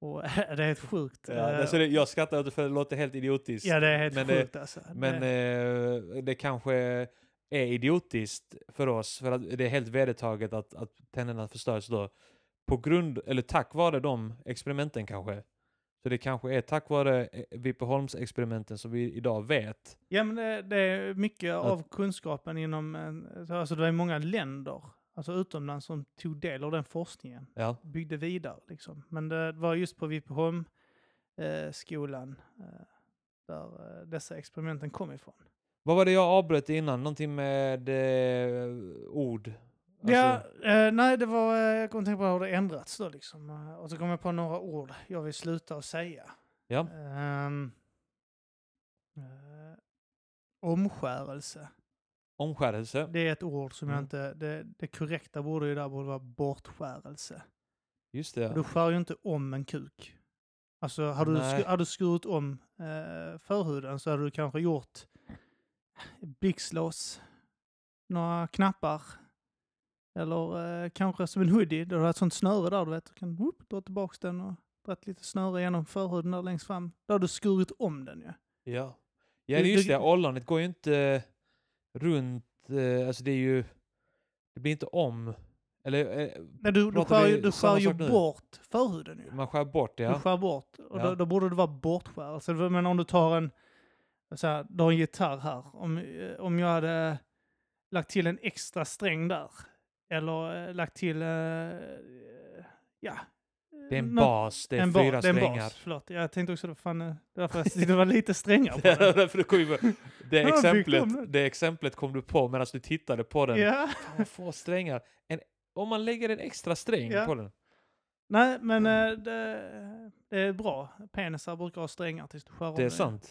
och det är helt sjukt. ja eh, alltså det, jag skrattar åt det för det låter helt idiotiskt. ja, det är helt men det- sjukt alltså. men det, eh, det kanske är idiotiskt för oss, för att det är helt vedertaget att, att tänderna förstörs då. På grund, eller tack vare de experimenten kanske. Så det kanske är tack vare eh, Vipeholms-experimenten som vi idag vet. ja, men eh, det, det är mycket av kunskapen inom... eh, Alltså det är många länder, alltså utomlands, som tog del av den forskningen. Ja. byggde vidare. Liksom. Men det var just på Vipeholm, eh, skolan eh, där eh, dessa experimenten kom ifrån. Vad var det jag avbröt innan? Någonting med eh, ord? Alltså, ja, eh, nej, det var, eh, jag kommer tänka på hur det ändrats då liksom. Eh, Och så kom jag på några ord jag vill sluta att säga. ja. Ehm, eh, omskärelse. Omskärelse. Det är ett ord som jag Mm. inte, det, det korrekta borde ju där borde vara bortskärelse. Just det. Och ja. Du skär ju inte om en kuk. Alltså, hade du, Nej. sku, hade du skurit om eh, förhuden så hade du kanske gjort blixtlås, några knappar, eller eh, kanske som en hoodie. Du har ett sånt snöre där, du vet. Du kan whoop, dra tillbaka den och dragit lite snöre genom förhuden där längst fram. Då har du skurit om den ju. Ja, ja Du- det är just du- det. Ollonet går ju inte runt, eh, alltså det är ju, det blir inte om. Eller eh, Nej, du, du Pratar skär, vi ju- du samma skär ju sak nu? bort förhuden ju. man skär bort det. Du Ja. skär bort. Och Ja. då, då borde det vara bortskärelse. Men om du tar en, så här, du har en gitarr här. Om, eh, om jag hade lagt till en extra sträng där. Eller eh, lagt till, eh, ja. Det är en nå- bas, det är ba- fyra det är en strängar. Bas, förlåt, jag tänkte också det. Fan, eh, därför jag tyckte det var lite strängare [LAUGHS] Det på är den. därför du kom ju på- det, Ja, exemplet, byggt om den. det exemplet kom du på medan du tittade på den. Ja. Fan, vad få strängar. En, om man lägger en extra sträng Ja. på den. Nej, men eh, det, det är bra. Penisar brukar ha strängar tills du skär om Det är den. sant.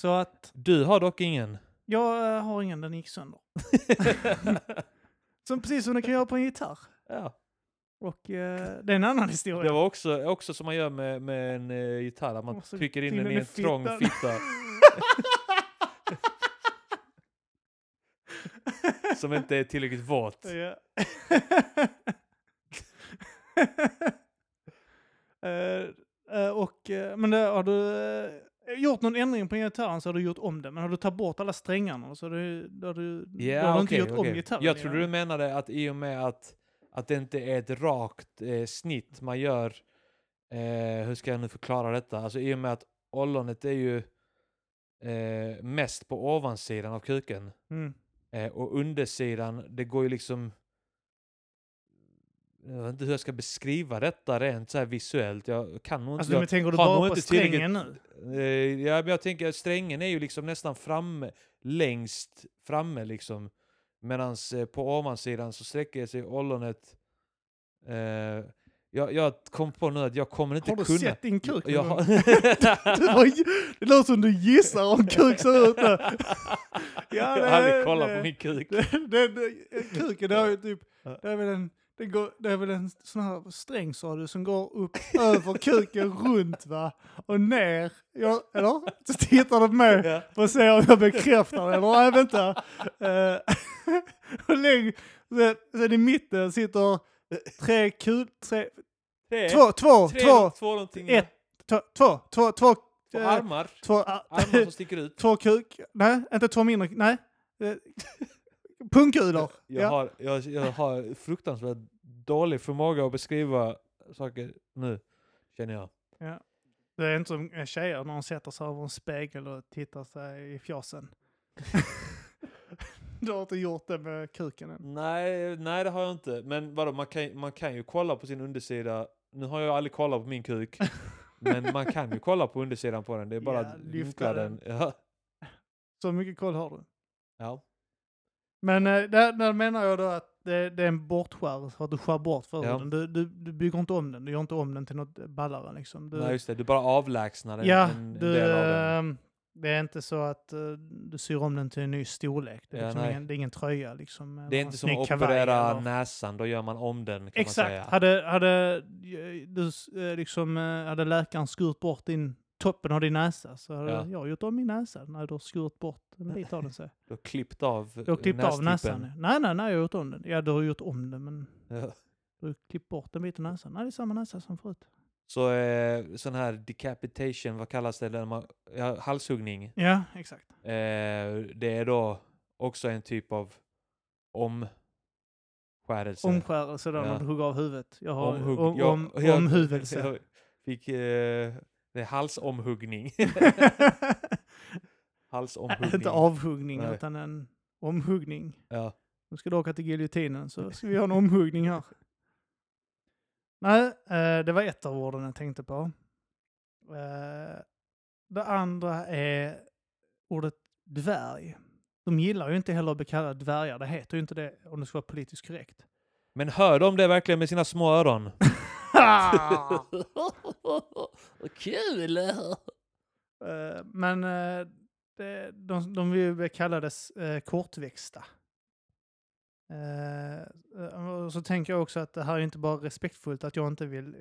Så att Du har dock ingen. jag eh, har ingen, den gick sönder. [LAUGHS] Som precis som du kan göra på en gitarr. ja. [LAUGHS] Och eh, det är en annan historia. Det var också, också som man gör med, med en eh, gitarr, att man Och så trycker in in den den i i en trång fittan. [LAUGHS] fitta. som inte är tillräckligt våt. Ja. [LAUGHS] Eh, eh, och, eh, men det, har du eh, gjort någon ändring på gitarren så har du gjort om det. Men har du tagit bort alla strängarna så har du, då har du, då Ja, har du okej, inte gjort okej. om gitarren. Jag trodde igen. du menade att i och med att, att det inte är ett rakt eh, snitt man gör, eh, hur ska jag nu förklara detta? Alltså i och med att ollonet är ju eh, mest på ovansidan av kuken Mm. eh, och undersidan, det går ju liksom jag vet inte hur jag ska beskriva detta rent så här visuellt. Jag kan nog inte. Alltså, jag- men tänker du har nog bara på inte tillräckligt- strängen nu? Eh, ja, men jag tänker att strängen är ju liksom nästan framme, längst framme liksom. Medan eh, på ovansidan så sträcker sig ollonet. Eh, jag, jag kom på nu att jag kommer inte Har du kunna. sett din kuk någon jag, gång? [LAUGHS] har- [LAUGHS] Du var- Det låter som du gissar om kuk ser ut nu. Ja, jag det- har aldrig kollat på det- min kuk. Den, den, den, kuken, det är ju typ, det är väl en, den går, det är väl en sån här sträng sa du som går upp över kuken runt va? Och ner, ja, eller? Så tittar du på mig Ja. för att se om jag bekräftar det eller nej vänta. Eh, [LAUGHS] och läng, sen, sen i mitten sitter tre kul, tre, Tre, två, två, tre, två, två någonting. ett, två, två, två, två, Två eh, armar. två, Armar som sticker [LAUGHS] ut. två kuk, nej inte två mindre, nej. Eh, [LAUGHS] Pungkulor. Jag, Ja. har, jag, jag har fruktansvärt dålig förmåga att beskriva saker nu, känner jag. Det är inte som eh, tjejer när de sätter sig över en spegel och tittar sig i fjasen. [LAUGHS] du har inte gjort det med kuken än. Nej, nej det har jag inte. Men vadå, man kan, man kan ju kolla på sin undersida. Nu har jag aldrig kollat på min [LAUGHS] kuk. men man kan ju kolla på undersidan på den. Det är bara Ja, att lyfta vinkla den. [LAUGHS] Ja. Så mycket koll har du. ja. Men eh, där, där menar jag då att det, det är en bortskär, för att du skär bort Ja. förhuden. Du, du, du bygger inte om den, du gör inte om den till något ballare liksom. Du, Nej, just det. Du bara avlägsnar en, ja, en, en du, del av den. ehm, det är inte så att eh, du syr om den till en ny storlek. Det är, Ja, liksom nej. ingen, det är ingen tröja liksom. eller Det är en inte som snygg att kavaj operera eller- näsan. Då gör man om den kan man Exakt. säga. Hade, hade, eh, du, s- eh, liksom, eh, hade läkaren skurit bort din, toppen av din näsa så hade Ja. jag gjort om min näsa. när du har skurit bort en bit av den. Så. Du har klippt av [LAUGHS] Du har klippt av näsan. nästippen. Nej, nej, nej, jag har gjort om den. Ja, du har gjort om den, men Ja. du har klippt bort en bit av näsan. Nej, det är samma näsa som förut. Så eh, sån här decapitation, vad kallas det? Där man, ja, halshuggning. Ja, exakt. Eh, det är då också en typ av omskärelse. Omskärelse då, Ja. när du hugger av huvudet. Jag har Omhugg- om, ja, om, jag- omhuvelse. Jag [LAUGHS] fick, eh, det är halsomhuggning. [LAUGHS] halsomhuggning. Inte avhuggning, Nej. utan en omhuggning. Ja. Nu ska du åka till giljotinen så ska vi ha en omhuggning här. Nej, eh, det var ett av orden jag tänkte på. Eh, Det andra är ordet dvärg. De gillar ju inte heller att bli kallade dvärgar. Det heter ju inte det om det ska vara politiskt korrekt. Men hör de det verkligen med sina små öron? Ha! Kul! Eh, Men eh, det- de, de vill ju bli kallade eh, kortväxta. Eh, och så tänker jag också att det här är ju inte bara respektfullt att jag inte vill eh,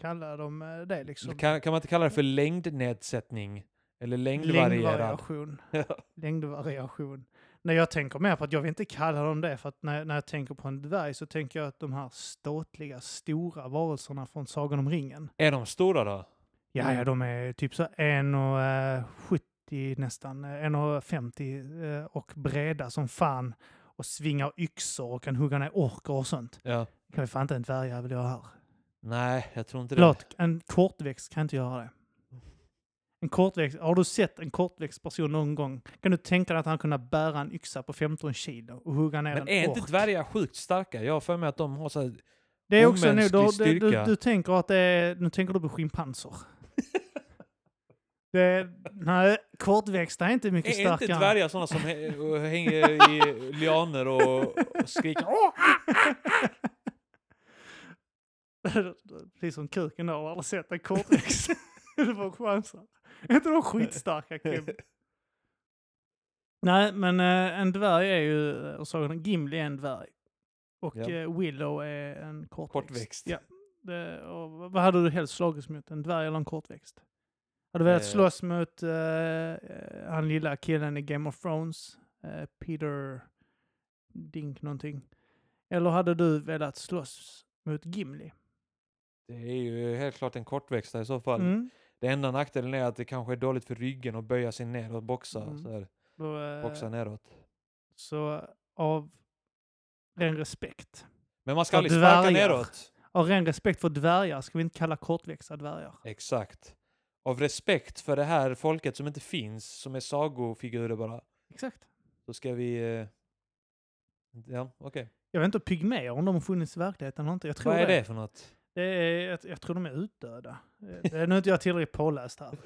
kalla dem eh, det. Liksom. Kan, kan man inte kalla det för längdnedsättning? Eller längdvarierad? Längdvariation. [LAUGHS] Ja. Längdvariation. Nej, jag tänker mer på att jag vill inte kalla dem det, för att när, när jag tänker på en dvärg så tänker jag att de här ståtliga, stora varelserna från Sagan om ringen. Är de stora då? Ja, Mm. ja, de är typ så 1,70 nästan, eh, 1,50 eh, och breda som fan och svingar yxor och kan hugga ner orkar och sånt. Ja. Det kan ju fan inte en dvärgjävel göra här. Nej, jag tror inte det. Förlåt, en kortväxt kan inte göra det. En kortväxt, har du sett en kortväxt person någon gång? Kan du tänka dig att han kunde bära en yxa på 15 kilo och hugga ner Men en är ork? inte dvärgar sjukt starka? Jag har för mig att de har så här... det är också nu, omänsklig då, du, du, styrka? du tänker att det är, nu tänker du [LAUGHS] på schimpanser. det, är- nej, kortväxta är inte mycket Är inte starkare. dvärgar sådana som hä- hänger i [LAUGHS] lianer och, och skriker Precis som kuken då, har du aldrig sett [LAUGHS] en kortväxt. [LAUGHS] du får chansen. Är inte de [LAUGHS] skitstarka Kim? Nej, men eh, en dvärg är ju, eh, och Sagan om Gimli är en dvärg. Och Ja. eh, Willow är en kortväxt. Kortväxt. Ja. Det, och vad vad hade du helst slagits mot? En dvärg eller en kortväxt? Hade du velat Eh. slåss mot eh, eh, han lilla killen i Game of Thrones? Eh, Peter Dink någonting. Eller hade du velat slåss mot Gimli? Det är ju helt klart en kortväxtare i så fall. Mm. Det enda nackdelen är att det kanske är dåligt för ryggen att böja sig ner och boxa, Mm. så här, Då, eh, boxa neråt. Så av ren respekt. Men man ska Ja, aldrig sparka dvärgar. neråt. Av ren respekt för dvärgar ska vi inte kalla kortväxta dvärgar. Exakt. Av respekt för det här folket som inte finns, som är sagofigurer bara, Exakt. så ska vi... eh, Ja, okej. Jag vet inte pygméer om de har funnits i verkligheten eller inte. Jag tror Vad är det. det för något? Det är, jag, jag tror de är utdöda. Eh, Det är, nu är inte jag tillräckligt påläst här.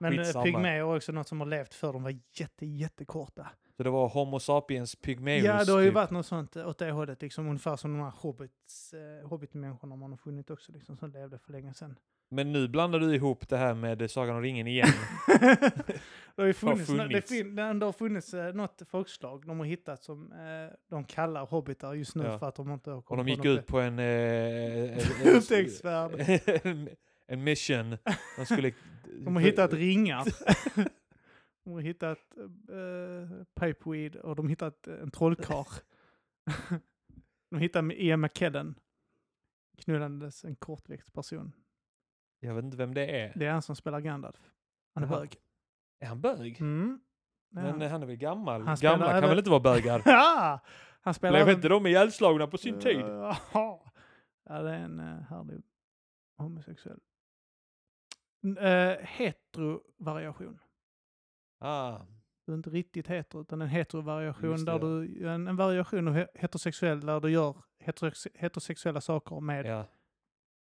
Men eh, Skitsamma. pygméer är också något som har levt förr. De var jätte, jättekorta. Så det var Homo sapiens pygmeus? ja, det har ju typ. varit något sånt eh, åt det hållet. Liksom, ungefär som de här hobbits, eh, hobbitmänniskorna man har funnit också, liksom, som levde för länge sedan. [LAUGHS] Men nu blandar du ihop det här med Sagan om ringen igen. det har ju funnits, Det, funnits. fin, det har ändå funnits eh, något folkslag de har hittat som eh, de kallar hobbitar just nu Ja. för att de inte har Och kommit de gick på något ut på en... eh, bättre. [LAUGHS] en- en- upptäcktsfärd. [LAUGHS] en, en mission. De [LAUGHS] skulle... De har [LAUGHS] hittat ringar. De har hittat eh, pipeweed och de har hittat en trollkarl. [LAUGHS] De har hittat Ian McKellen. Knullandes en kortväxt person. Jag vet inte vem det är. Det är han som spelar Gandalf. Han är Jaha. bög. Är han bög? Mm. Ja. Men eh, han är väl gammal? Han spelar Gamla kan även- väl inte vara bögar? [LAUGHS] Ja! Han spelar... Blev även- inte de ihjälslagna på Eh, sin tid? Ja, det är en eh, härlig homosexuell. Uh, heterovariation. Ah, Du är inte riktigt hetero, utan en heterovariation Just det, där ja. du, en, en variation av he- heterosexuell där du gör heterose- heterosexuella saker med ja.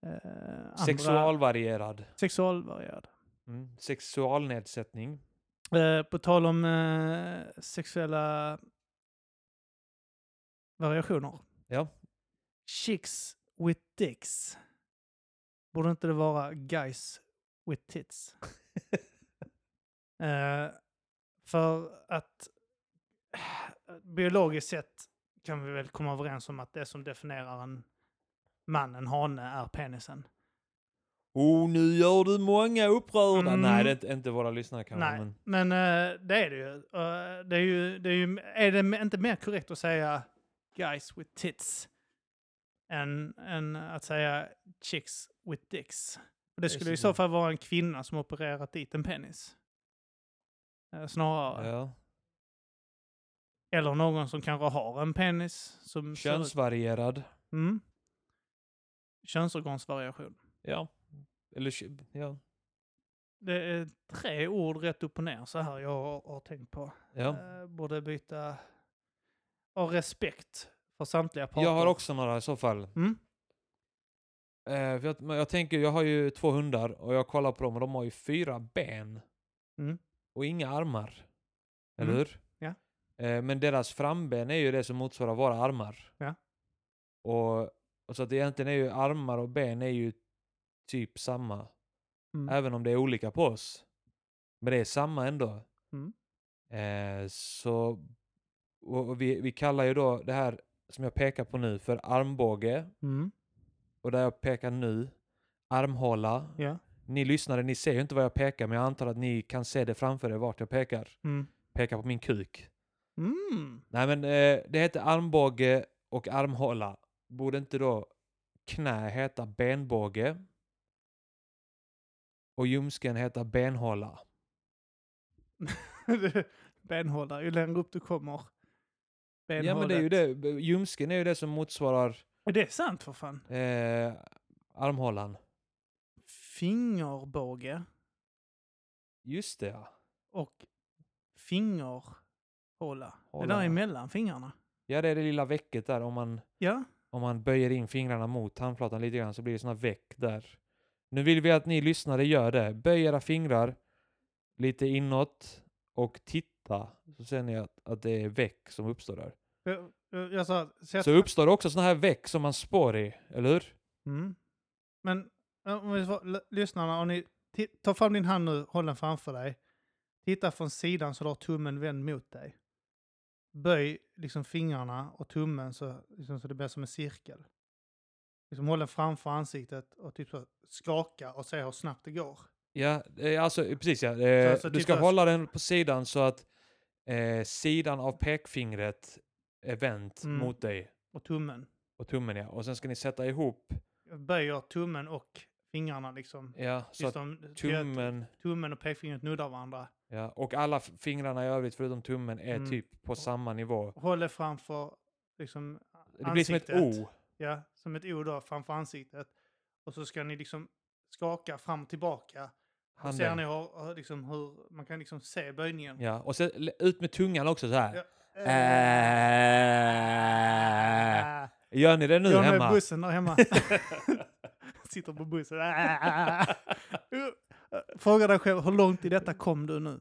eh, andra Sexualvarierad. sexualvarierad. Mm. Sexualnedsättning. Eh, på tal om eh, sexuella variationer. Ja. Chicks with dicks. Borde inte det vara guys with tits? eh, för att eh, biologiskt sett kan vi väl komma överens om att det som definierar en man, en hane, är penisen. Oh, nu gör du många upprörda. Mm. Nej, det är inte, inte våra lyssnare kanske. Nej, Men... men eh, det är det ju. Eh, det är ju, det är ju. Är det inte mer korrekt att säga guys with tits än, än att säga chicks with dicks? Och det Just skulle i det. så fall vara en kvinna som opererat dit en penis. Eh, snarare. Ja. Eller någon som kanske har en penis. Som ser ut- Könsvarierad. Mm. Könsorgansvariation. Ja. Eller, kö- ja. Det är tre ord rätt upp och ner så här jag har, har tänkt på. ja. Eh, borde byta av respekt för samtliga parter. Jag har också några i så fall. Mm. Eh, för jag, men jag tänker, jag har ju två hundar och jag kollar på dem och de har ju fyra ben. Mm. Och inga armar. Eller Mm. hur? Ja. Eh, men deras framben är ju det som motsvarar våra armar. Ja. Och, och så att egentligen är ju armar och ben är ju typ samma. Mm. Även om det är olika på oss. Men det är samma ändå. Mm. Eh, så och och vi, vi kallar ju då det här som jag pekar på nu för armbåge. Mm. Och där jag pekar nu, armhåla. Ja. Ni lyssnare, ni ser ju inte vad jag pekar men jag antar att ni kan se det framför er vart jag pekar. Mm. Pekar på min kuk. Mm. [LAUGHS] Nej men eh, det heter armbåge och armhåla. Borde inte då knä heta benbåge? Och ljumsken heta benhåla. Benhållare, ju längre upp du kommer. Ja men det är ju benhålet. det, B- ljumsken är ju det som motsvarar Det är sant för fan. eh, armhålan. Fingerbåge Just det ja. och fingerhåla. Det Håla. där är mellan fingrarna. Ja det är det lilla vecket där om man Ja. om man böjer in fingrarna mot handflatan lite grann så blir det såna veck där. Nu vill vi att ni lyssnare gör det. Böj era fingrar lite inåt och titta så ser ni att, att det är veck som uppstår där. Jag, jag, jag sa, sätt- Så uppstår det också såna här veck som man spår i, eller hur? Mm. Men ja, om vi får, l- lyssnarna, om ni ti- tar fram din hand nu, håll den framför dig. Titta från sidan så du har tummen vänd mot dig. Böj liksom fingrarna och tummen så, liksom, så det blir som en cirkel. Liksom håll den framför ansiktet och typ så skaka och se hur snabbt det går. Ja, eh, alltså eh, precis ja. Eh, så du ska titta- hålla den på sidan så att eh, sidan av pekfingret är vänt Mm. mot dig Och tummen. och tummen ja. Och sen ska ni sätta ihop Jag böjer tummen och fingrarna liksom. Ja, så Tills att de, tummen... tummen och pekfingret nuddar varandra. Ja, och alla f- fingrarna i övrigt förutom tummen är Mm. typ på samma nivå. Håller framför liksom, Det blir som ett O. ja, som ett O då, framför ansiktet. Och så ska ni liksom skaka fram och tillbaka. Och ser Handen. ni hur, hur, liksom, hur man kan liksom se böjningen. Ja, och sen l- ut med tungan också så här. Ja. Eh, Äh. Äh. Gör ni det nu jag är med i hemma? bussen [LAUGHS] där hemma. Sitter på bussen. Äh. Eh, Fråga dig själv, hur långt i detta kom du nu?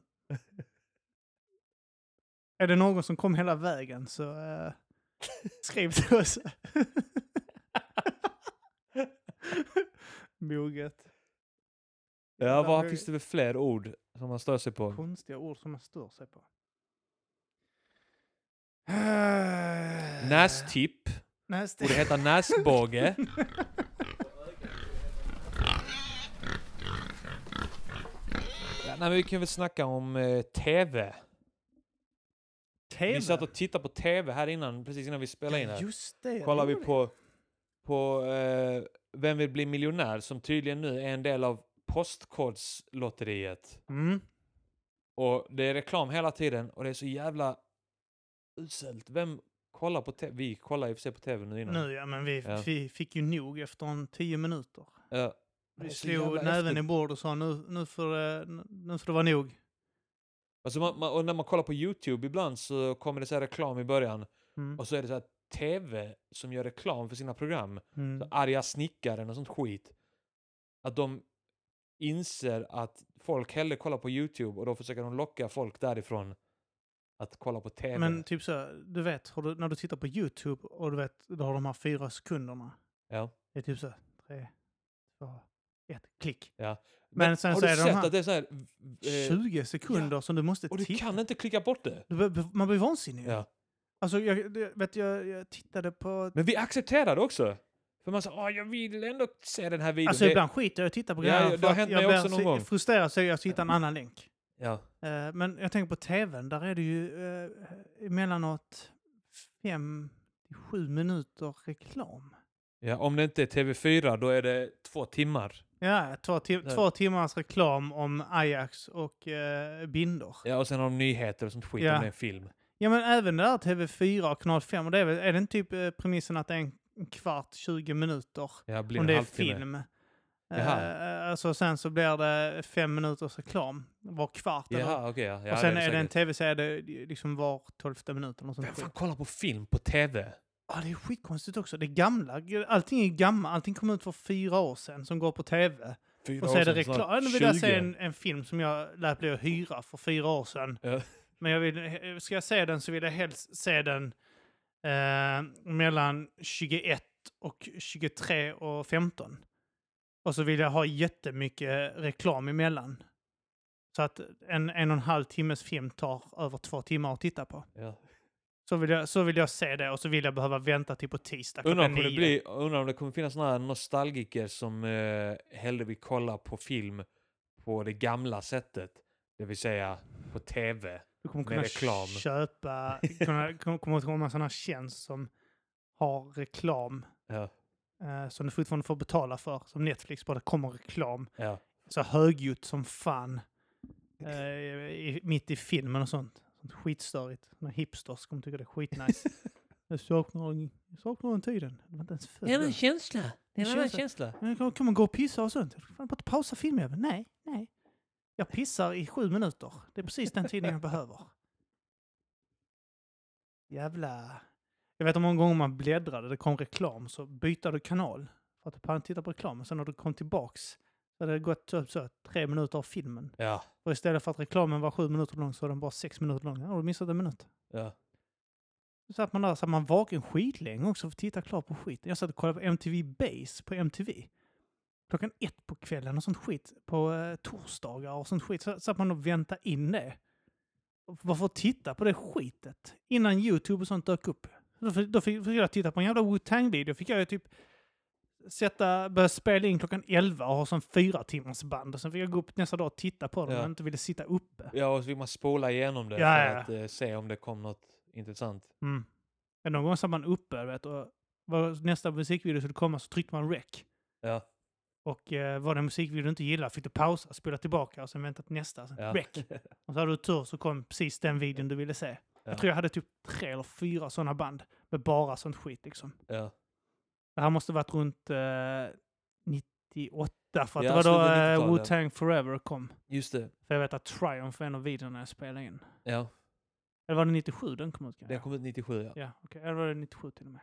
Är det någon som kom hela vägen så eh, skriv [LAUGHS] till oss. Moget. Ja, vad finns det för fler ord som man stör sig på? Konstiga ord som man stör sig på. Nästipp. Nästipp. Borde heta [LAUGHS] näsbåge. Ja, nej, men vi kan väl snacka om eh, TV. TV. Vi satt och tittade på TV här innan, precis innan vi spelade in här. Just det. det Kollar vi gjorde på, på eh, Vem vill bli miljonär? Som tydligen nu är en del av Postkodslotteriet. Mm. Och det är reklam hela tiden och det är så jävla uselt. Vem kollar på TV? Vi kollar i och för sig på TV nu innan. Nu ja, men vi, Mm. Ja. vi fick ju nog efter en tio minuter. Ja. Vi Det är så jävla slog näven häftigt. i bord och sa nu, nu, får, det- nu får det vara nog. Alltså man, man, och när man kollar på YouTube ibland så kommer det så här reklam i början Mm. och så är det så här TV som gör reklam för sina program. Så Mm. arga snickaren och sånt skit. Att de inser att folk hellre kollar på YouTube och då försöker de locka folk därifrån att kolla på TV. Men typ så, här, du vet, har du, när du tittar på YouTube och du vet, du har de här fyra sekunderna. ja. Det är typ så, här, tre, två, ett, klick. men, men sen har så du är det de sett här- att det är så här... eh, 20 sekunder som du måste och du titta. kan inte klicka bort det. Du bör- man blir vansinnig. Ja. Alltså, jag, det- vet, jag, jag tittade på... Men vi accepterar det också. För man sa, "Åh, jag vill ändå se den här videon. Alltså Det- ibland skiter jag i att titta på Ja, grejer. ja, det för har att hänt jag mig blir också någon så gång. frustrerad så jag hittar en annan länk. ja. Eh, Men jag tänker på tvn, där är det ju eh, emellanåt fem till sju minuter reklam. ja, om det inte är TV4 då är det två timmar. Ja, två, ti- Där. två timmars reklam om Ajax och eh, bindor. Ja, och sen har de nyheter och sånt skit Ja. om det är en film. Ja, men även där TV4 och kanal 5, och det är, väl, är den typ eh, premissen att det är en en kvart, 20 minuter Ja, blir om en det är halvtimme. film. Jaha. Eh, alltså sen så blir det fem minuters reklam var kvart. eller- Jaha, okej. ja. ja, och sen det är det en säkert. tv-serie det är liksom var tolfte minut eller något sånt Vem skit. fan kollar på film på TV? Ja, det är skitkonstigt också. Det är gamla. Allting är gammalt. Allting kom ut för fyra år sedan som går på tv. Fyra Och så år är det sedan, reklam. snart Ja, Nu vill jag 20. se en, en film som jag lät bli att hyra för fyra år sedan. Ja. Men jag vill, eh, ska jag se den så vill jag helst se den eh, mellan 21 och 23 och 15. Och så vill jag ha jättemycket reklam emellan. Så att en en och en halv timmes film tar över två timmar att titta på. Ja. Så vill, jag, så vill jag se det och så vill jag behöva vänta till på tisdag Undrar, om klockan det nio. blir, undrar om det kommer finnas såna här nostalgiker som eh, hellre vill kolla på film på det gamla sättet. Det vill säga på TV. Du kommer med kunna reklam. [LAUGHS] köpa, kunna, kommer- kommer att komma sådana tjänst som har reklam Ja, eh, som du fortfarande får betala för. Som Netflix, bara det kommer reklam. ja. Så högljutt som fan. Eh, i, mitt i filmen och sånt. sånt skitstörigt. Några hipsters kommer tycka det [LAUGHS] är skitnice. jag saknar, jag saknar den tiden. Det var inte ens född då. känsla. Det är en annan känsla. Men kan, kan man gå och pissa och sånt? Jag Fan, bara pausa filmen. Nej, nej. Jag pissar i sju minuter. Det är precis den tiden jag behöver. Jävla... Jag vet hur många gånger man bläddrade, det kom reklam, så bytte du kanal för att du pannade titta på reklamen. Sen när du kom tillbaks så hade det gått typ så, tre minuter av filmen. Ja, Och istället för att reklamen var sju minuter lång så var den bara sex minuter lång. Ja, har du missat en minut. ja. Så satt man där, så man vaken skitlänge också för att titta klart på skiten. Jag satt och kollade på MTV Base på MTV. Klockan ett på kvällen och sånt skit. På eh, torsdagar och sånt skit. Så satt man och väntade in det. Och Varför titta på det skitet? Innan YouTube och sånt dök upp. Då fick, då fick, fick jag titta på en jävla Wu-Tang-video. fick jag ju typ sätta, börja spela in klockan 11 och ha sån fyra timmars band. Och sen fick jag gå upp nästa dag och titta på det Ja. om jag inte ville sitta uppe. ja och så vill man spola igenom det Ja, för ja. att eh, se om det kom något intressant. Mm. Men någon gång satt man uppe, vet, och var nästa musikvideo skulle komma så tryckte man rec. Ja. Och eh, var det en musikvideo du inte gillar fick du pausa, spela tillbaka och sen vänta till nästa. Sen Ja. rec. Och så hade du tur så kom precis den videon du ville se. Ja. Jag tror jag hade typ tre eller fyra sådana band med bara sånt skit liksom. [LAUGHS] Ja. Det här måste varit runt eh, 98 för att Ja, det var då slutet eh, 90-talet. Wu-Tang Forever kom. Just det. För jag vet att Triumph var en av videorna jag spelade in. Ja. Eller var det 97 den kom ut kanske? Den kom ut 97 ja. Ja, okej. Eller var det 97 till och med?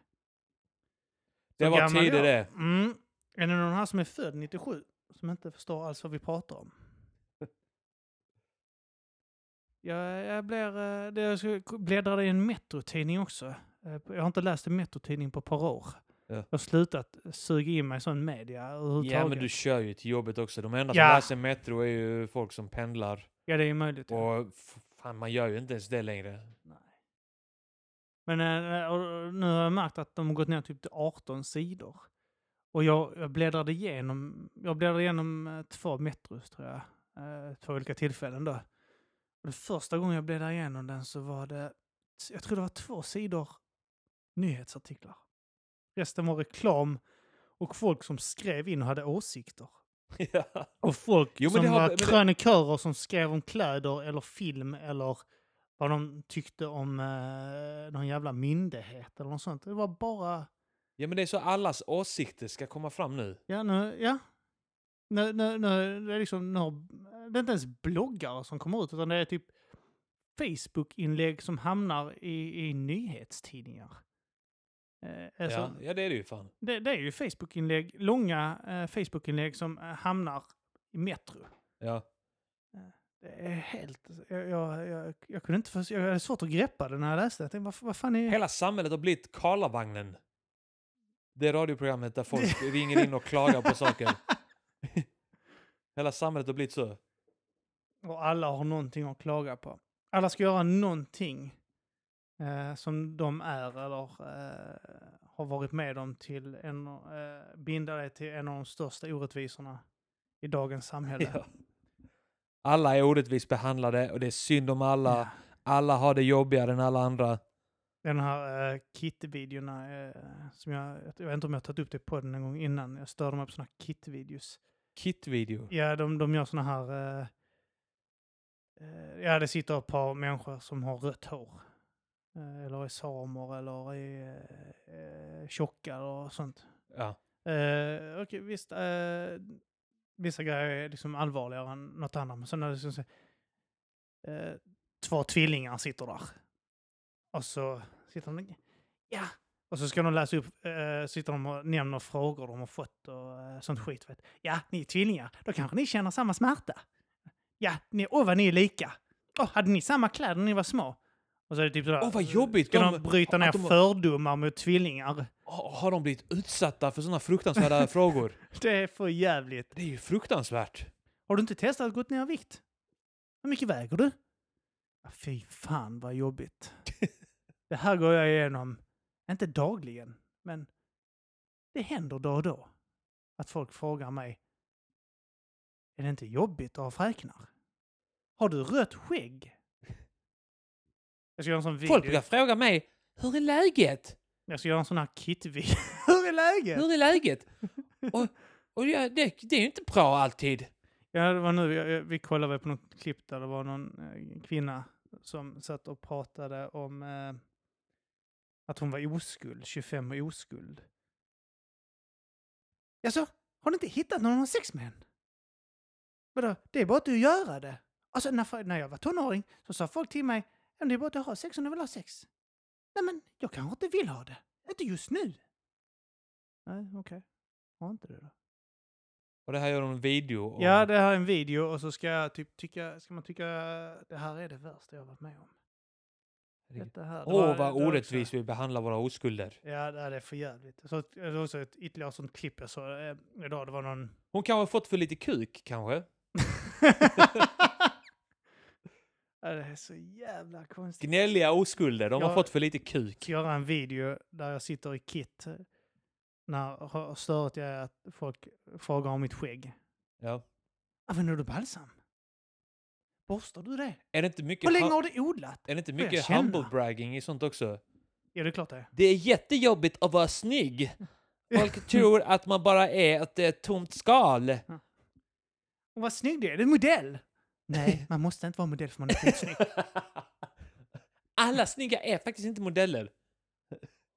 Det Så var gammal tidigt jag. det. Mm. Är det någon här som är född 97? Som inte förstår alls vad vi pratar [LAUGHS] om? Jag, jag blir... eh, Det, jag ska- bläddrade i en Metro-tidning också. Eh, på- Jag har inte läst en Metro-tidning på ett par år. Ja. Jag har slutat suga in mig sån media överhuvudtaget. Ja men du kör ju till jobbet också. De enda som Ja. läser Metro är ju folk som pendlar. ja det är ju möjligt. ja. Och f- fan man gör ju inte ens det längre. [LAUGHS] Men eh, och nu har jag märkt att de har gått ner typ till 18 sidor. Och jag, jag bläddrade igenom, jag bläddrade igenom eh, två Metros tror jag. eh, Två olika tillfällen då. Och den första gången jag bläddrade igenom den så var det, jag tror det var två sidor nyhetsartiklar. Resten var reklam och folk som skrev in och hade åsikter. ja. Och folk Jo, men som det har- var men det- krönikörer som skrev om kläder eller film eller vad de tyckte om eh, någon jävla myndighet eller något sånt. Det var bara... ja men det är så allas åsikter ska komma fram nu. Ja, nu... Ja. Nu, nu, nu, det, är liksom, nu har- det är inte ens bloggare som kommer ut utan det är typ Facebook-inlägg som hamnar i, i nyhetstidningar. Eh, alltså, Ja. ja det är det ju fan. det, det är ju Facebook-inlägg, långa eh, Facebook-inlägg som eh, hamnar i Metro. Ja. Det är helt... Jag, jag, jag, jag kunde inte förstå, jag hade svårt att greppa det när jag läste det. Jag tänkte, vad, vad fan är... Hela samhället har blivit Karlavagnen. Det radioprogrammet där [LAUGHS] folk ringer in och klagar på saker. Hela samhället har blivit så. Och alla har någonting att klaga på. Alla ska göra någonting eh, som de är eller eh, har varit med om till en... Eh, binda det till en av de största orättvisorna i dagens samhälle. Ja. Alla är orättvist behandlade och det är synd om alla. Ja. Alla har det jobbigare än alla andra. Den här uh, kit-videorna eh, som jag... Jag vet inte om jag har tagit upp det på den en gång innan. Jag störde mig på såna här kit-videos. Kit-video. Ja, de, de gör såna här... eh, eh, ja, det sitter ett par människor som har rött hår. Eh, eller är samer eller är uh, tjocka eller sånt. Ja. Uh, Okej, visst. eh, vissa grejer är liksom allvarligare än något annat. Men sen är det liksom så, eh, två tvillingar sitter där. Och så sitter de... Ja! Och så ska de läsa upp, eh, sitter de och nämner frågor de har fått och eh, sånt skit. Vet. Ja, ni är tvillingar. Då kanske ni känner samma smärta. Ja, ni, åh vad ni är lika. Åh, hade ni samma kläder när ni var små? Och så är det typ sådär. Åh, vad jobbigt. Ska de, De- bryta ner att de- fördomar mot tvillingar? [LAUGHS] Ha- Har de blivit utsatta för sådana fruktansvärda frågor? Det är för jävligt. Det är ju fruktansvärt. Har du inte testat att gå ner i vikt? Hur mycket väger du? Ja, Fy fan vad [LAUGHS] jobbigt. Det här går jag igenom, inte dagligen, men det händer då och då. Att folk frågar mig, är det inte jobbigt att ha fräknar? Har du rött skägg? Jag ska göra en sån Folk video. brukar fråga mig, hur är läget? Jag ska göra en sån här kit-video. [LAUGHS] Hur är läget? Hur är [LAUGHS] läget? Och, och jag, det, det är ju inte bra alltid. Ja, det var nu, jag, jag, vi kollade på något klipp där det var någon eh, kvinna som satt och pratade om eh, att hon var oskuld, 25 och oskuld. Jaså, har ni inte hittat någon att ha sex med än? Vadå, det är bara att du göra det. Alltså när, fa- när jag var tonåring så sa folk till mig, "Ja, det är bara att du har sex om du vill ha sex. Nej men, jag kanske inte vill ha det. Inte just nu. Nej, okej. Har inte det då. Och det här gör de en video om. Ja, det här är en video och så ska jag typ tycka, ska man tycka det här är det värsta jag varit med om. Herregud. Detta här. det Åh, vad var- det var orättvist också- vi behandlar våra oskulder. Ja, det här är för jävligt. Så, det var också ett ytterligare sånt klipp jag såg eh, idag. Det var någon... [LAUGHS] Hon kanske har fått för lite kuk, kanske? ja, det är så jävla konstigt. Gnälliga oskulder, de Ja. har fått för lite kuk. ska göra en video där jag sitter i kit. När har stört jag är att folk frågar om mitt skägg. Ja. Använder du balsam? Borstar du det? Är det inte mycket, Hur länge hum- har du odlat? är det inte jag mycket känna? humble bragging i sånt också? Ja, det är klart det är. Det är jättejobbigt att vara snygg. [LAUGHS] Folk tror att man bara är att det är ett tomt skal. Och vad snygg du är, du är modell! [LAUGHS] Nej, man måste inte vara modell för man är skitsnygg. [LAUGHS] Alla snygga är faktiskt inte modeller.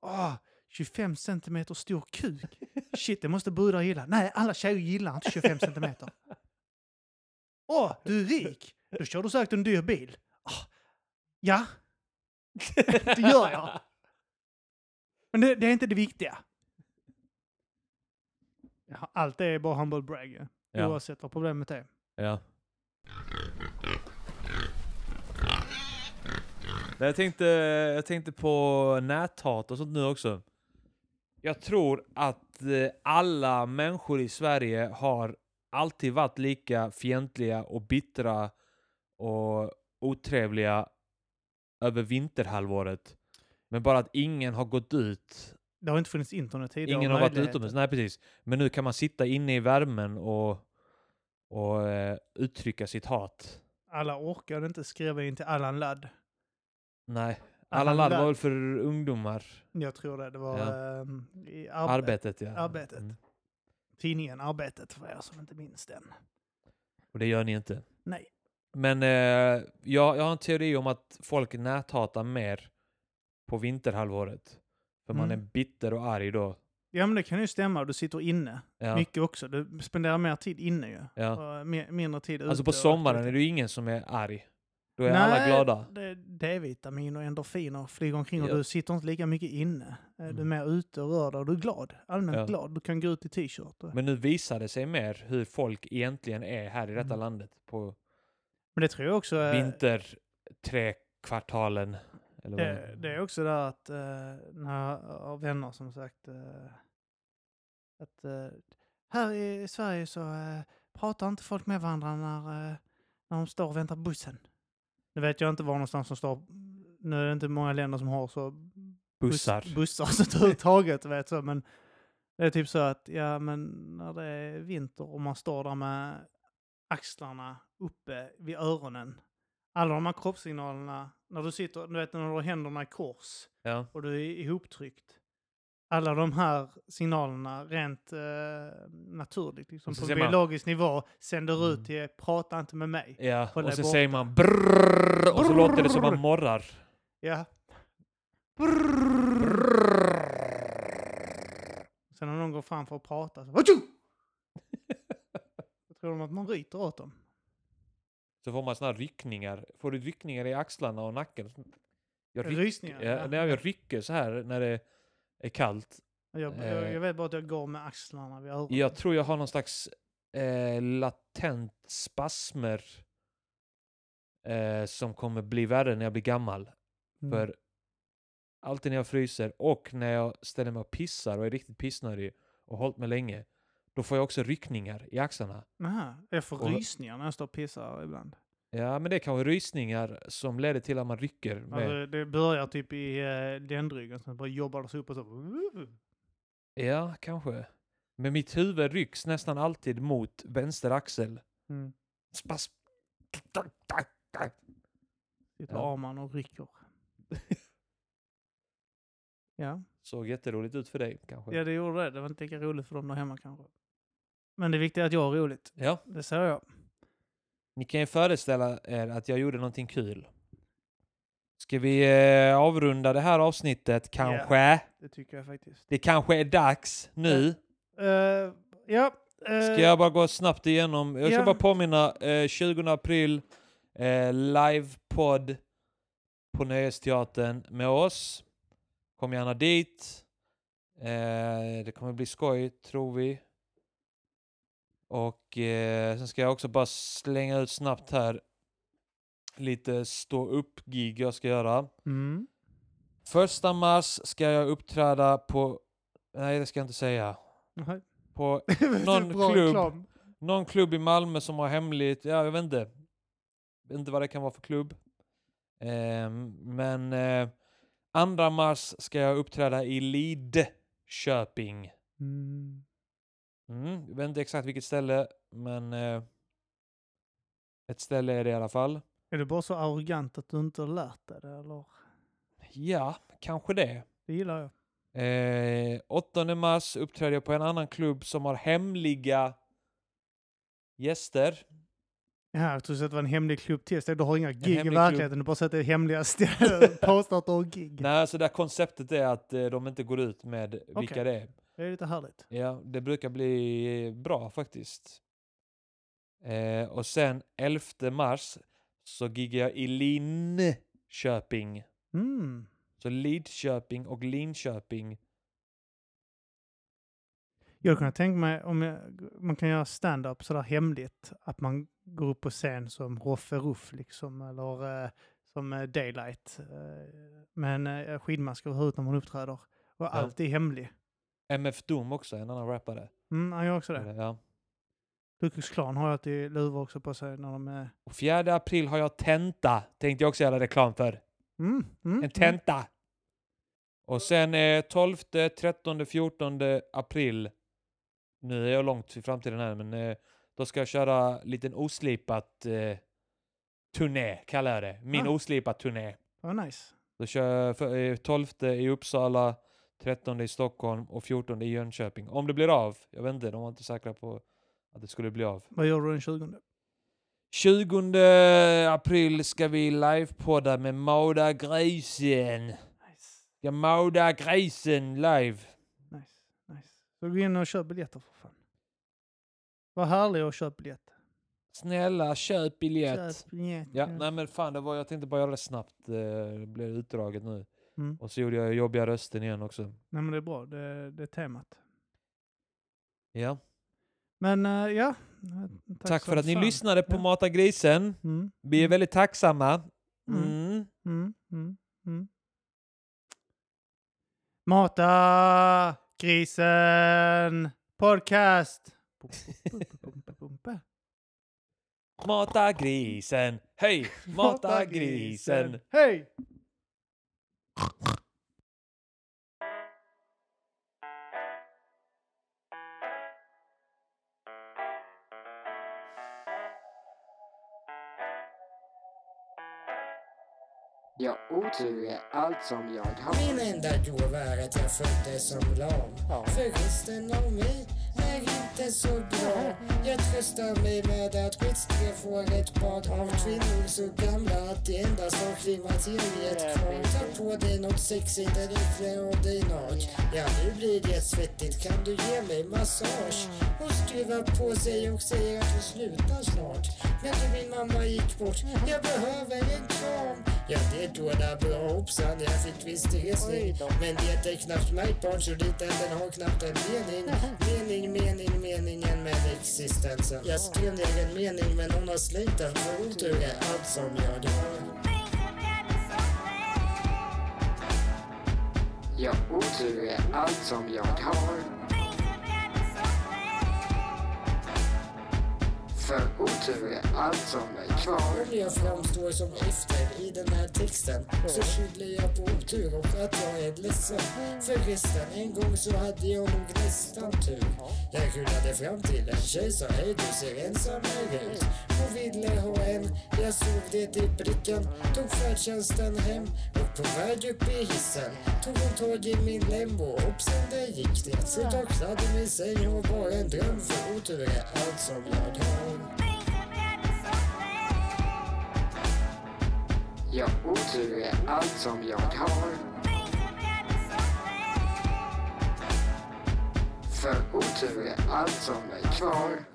Åh, 25 centimeter stor kuk. Shit, det måste brudar gilla. Nej, alla tjejer gillar inte 25 centimeter. Åh, du är rik! Då kör du säkert en dyr bil. Ah, ja, det gör jag. Men det, det är inte det viktiga. Ja, Allt är bara humble brag ju. Ja. Oavsett vad problemet är. [LAUGHS] Ja. Nej, Jag tänkte, jag tänkte på näthat och sånt nu också. Jag tror att eh, alla människor i Sverige har alltid varit lika fientliga och bittra och otrevliga över vinterhalvåret. Men bara att ingen har gått ut Det har inte funnits internet tidigare. Ingen och har varit möjligheter. utomhus, nej precis. Men nu kan man sitta inne i värmen och, och eh, uttrycka sitt hat. Alla orkade inte skriva in till Allan Ladd. Nej, Allan alla ladd Ladd. var väl för ungdomar? Jag tror det. Det var Ja. ehm, i Arbe- Arbetet ja. Arbetet. Mm. tidningen Arbetet för er som inte minns den. Och det gör ni inte. Nej. Men eh, jag, jag har en teori om att folk näthatar mer på vinterhalvåret. För man är Mm. bitter och arg då. Ja, men det kan ju stämma. Du sitter inne Ja. mycket också. Du spenderar mer tid inne ju. ja. Och mi- mindre tid ute. Alltså på och sommaren är aktivitet. det ju ingen som är arg. Då är Nej, alla glada. det- D-vitamin och endorfiner flyger omkring och Ja. du sitter inte lika mycket inne. Eh, Du är Mm. mer ute och rör dig och du är glad. Allmänt Ja. glad. Du kan gå ut i t-shirt. Och... Men... Men nu visar det sig mer hur folk egentligen är här i detta Mm. landet på det tror jag också... eh, vinter tre kvartalen. Eller vad Det, det är också där att eh, när jag har vänner som sagt eh, att eh, här i Sverige så eh, pratar inte folk med varandra när, eh, när de står och väntar på bussen. Nu vet jag inte var någonstans som står. Nu är det inte många länder som har så Bussar. buss, bussar så [LAUGHS] överhuvudtaget. Vet så, men det är typ så att ja, men när det är vinter och man står där med axlarna uppe vid öronen. Alla de här kroppssignalerna, när du sitter, du vet när du har händerna i kors Ja. och du är ihoptryckt. Alla de här signalerna rent eh, naturligt, liksom, Och så på ser man- biologisk nivå, sänder Mm. ut till prata inte med mig. ja. Håll Och dig så borta. säger man brrrr och så låter det som man morrar. Ja. Sen när någon går fram för att prata så... Atjo! Då tror de att man ryter åt dem. Så får man såna här ryckningar. Får du ryckningar i axlarna och nacken? Jag ryck, Rysningar. ja, när jag rycker så här när det är kallt. Jag, jag, jag vet bara att jag går med axlarna vid öronen. Jag tror jag har någon slags eh, latent spasmer eh, som kommer bli värre när jag blir gammal. Mm. För alltid när jag fryser och när jag ställer mig och pissar och är riktigt pissnödig och hållit mig länge, då får jag också ryckningar i axlarna. Nähä, jag får Och- rysningar när jag står och pissar ibland. Ja, men det är kanske rysningar som leder till att man rycker. Med. Alltså, det börjar typ i eh, ländryggen, sen bara jobbar det sig upp och så... Ja, kanske. Men mitt huvud rycks nästan alltid mot vänster axel. Mm. Spas. Sitter Ja. armarna och rycker. ja. Såg jätteroligt ut för dig kanske. Ja, det gjorde det. Det var inte lika roligt för dem där hemma kanske. Men det viktiga är att jag har roligt. Ja, Det säger jag. ni kan ju föreställa er att jag gjorde någonting kul. Ska vi eh, avrunda det här avsnittet kanske? Det tycker jag faktiskt. Det kanske är dags nu. Eh, ja. eh, Ska jag bara gå snabbt igenom? Jag ska ja. bara påminna. Eh, 20 april, eh, livepodd på Nöjesteatern med oss. Kom gärna dit. Eh, det kommer bli skoj, tror vi. Och eh, sen ska jag också bara slänga ut snabbt här lite stå upp-gig jag ska göra. Mm. Första mars ska jag uppträda på... Nej, det ska jag inte säga. [LAUGHS] Nej. På Någon klubb. Någon klubb i Malmö som har hemligt, ja jag vet inte. Vet inte vad det kan vara för klubb. Ehm, men eh, 2 mars ska jag uppträda i Lidköping. Mm. Mm, jag vet inte exakt vilket ställe, men eh, ett ställe är det i alla fall. Är du bara så arrogant att du inte har lärt dig det? Eller? Ja, kanske det. Det gillar jag. Eh, 8 mars uppträder jag på en annan klubb som har hemliga gäster. Ja, jag trodde att det var en hemlig klubb till. så Du har inga gig i hemlig verkligheten, du bara sätter hemliga [LAUGHS] ställen. Påstår att du har gig. Nej, så det här konceptet är att eh, de inte går ut med vilka Okej. det är. Det är lite härligt. Ja, det brukar bli bra faktiskt. Eh, och sen 11 mars så giggar jag i Linköping. Mm. Så Lidköping och Linköping. Jag kunde tänka mig om jag, man kan göra stand-up sådär hemligt. Att man går upp på scen som Roffe Ruff liksom, eller eh, som eh, Daylight. Men eh, skidmask över huvudet när man uppträder. Och allt är hemligt. MF Doom också, en annan rappare. Eh, Mm, jag gör också det. Ja. Lukas Klan har ju alltid luva också på sig när de är... Och 4 april har jag tenta. Tänkte jag också göra reklam för. Mm, mm, En tenta! Och sen eh, 12, 13, 14 april. Nu är jag långt i framtiden här, men eh, då ska jag köra liten oslipat eh, turné, kallar jag det. Min Ah. oslipat turné. Mm. Oh, nice. Då kör jag för, eh, 12 i Uppsala, 13 i Stockholm och 14 i Jönköping. Om det blir av. Jag vet inte, de var inte säkra på att det skulle bli av. Vad gör du den 20? 20 april ska vi livepodda med Mauda Grisen. Nice, Jag Mauda Grisen live. nice, nice. Så gå in och köp biljetter för fan. Vad härligt att köpa biljetter. Snälla, köp biljett. Köp biljett. Ja, nej men fan, det var, jag tänkte bara göra det snabbt. eh, Det blev utdraget nu. Mm. Och så gjorde jag jobbiga rösten igen också. nej men det är bra, det, det är temat. Ja. Men eh, ja. Tack, som för att ni fan. lyssnade på Ja. Mata Grisen. Mm, Vi är väldigt tacksamma. Mm. Mm. mm, mm, mm. Mata grisen podcast. Bum, bum, bum, bum, bum, bum. Mata Grisen. [LAUGHS] Hej! Mata Grisen. Hej! Ja, otur är allt som jag har. Min enda gåva är att jag föddes som lam. För resten av mig är inte så bra. Jag tröstar mig med att mitt skrev får ett bad av kvinnor så gamla att det enda som klimmat till är ett kvar. Ta på dig något sexigt eller klä av dig nart. Ja, nu blir det svettigt. Kan du ge mig massage? Hon skruvar på sig och säger att hon slutar snart. Men du, min mamma gick bort. Jag behöver en kram. Ja, det tårna bra hoppsan, jag fick visst resning. Men det är knappt märkbart så liten den har knappt en mening. Mening, mening, meningen med existensen. Jag skrev ner en mening men hon har slängt den för otur är allt som jag har. Ja, otur är allt som jag har. För otur är allt som är kvar. Om jag framstår som efter i den här texten så skyller jag på otur och att jag är ledsen. Förresten, en gång så hade jag nog nästan tur. Jag rullade fram till en tjej sa hej du ser ensammare ut. Hon ville ha en, jag såg det i brickan. Tog färdtjänsten hem och på väg upp i hissen tog hon tag i min lem och hoppsan där gick det. Så jag kladde min säng och var en dröm för otur är allt som jag har. Ja, otur är allt som jag har. För otur är allt som är kvar.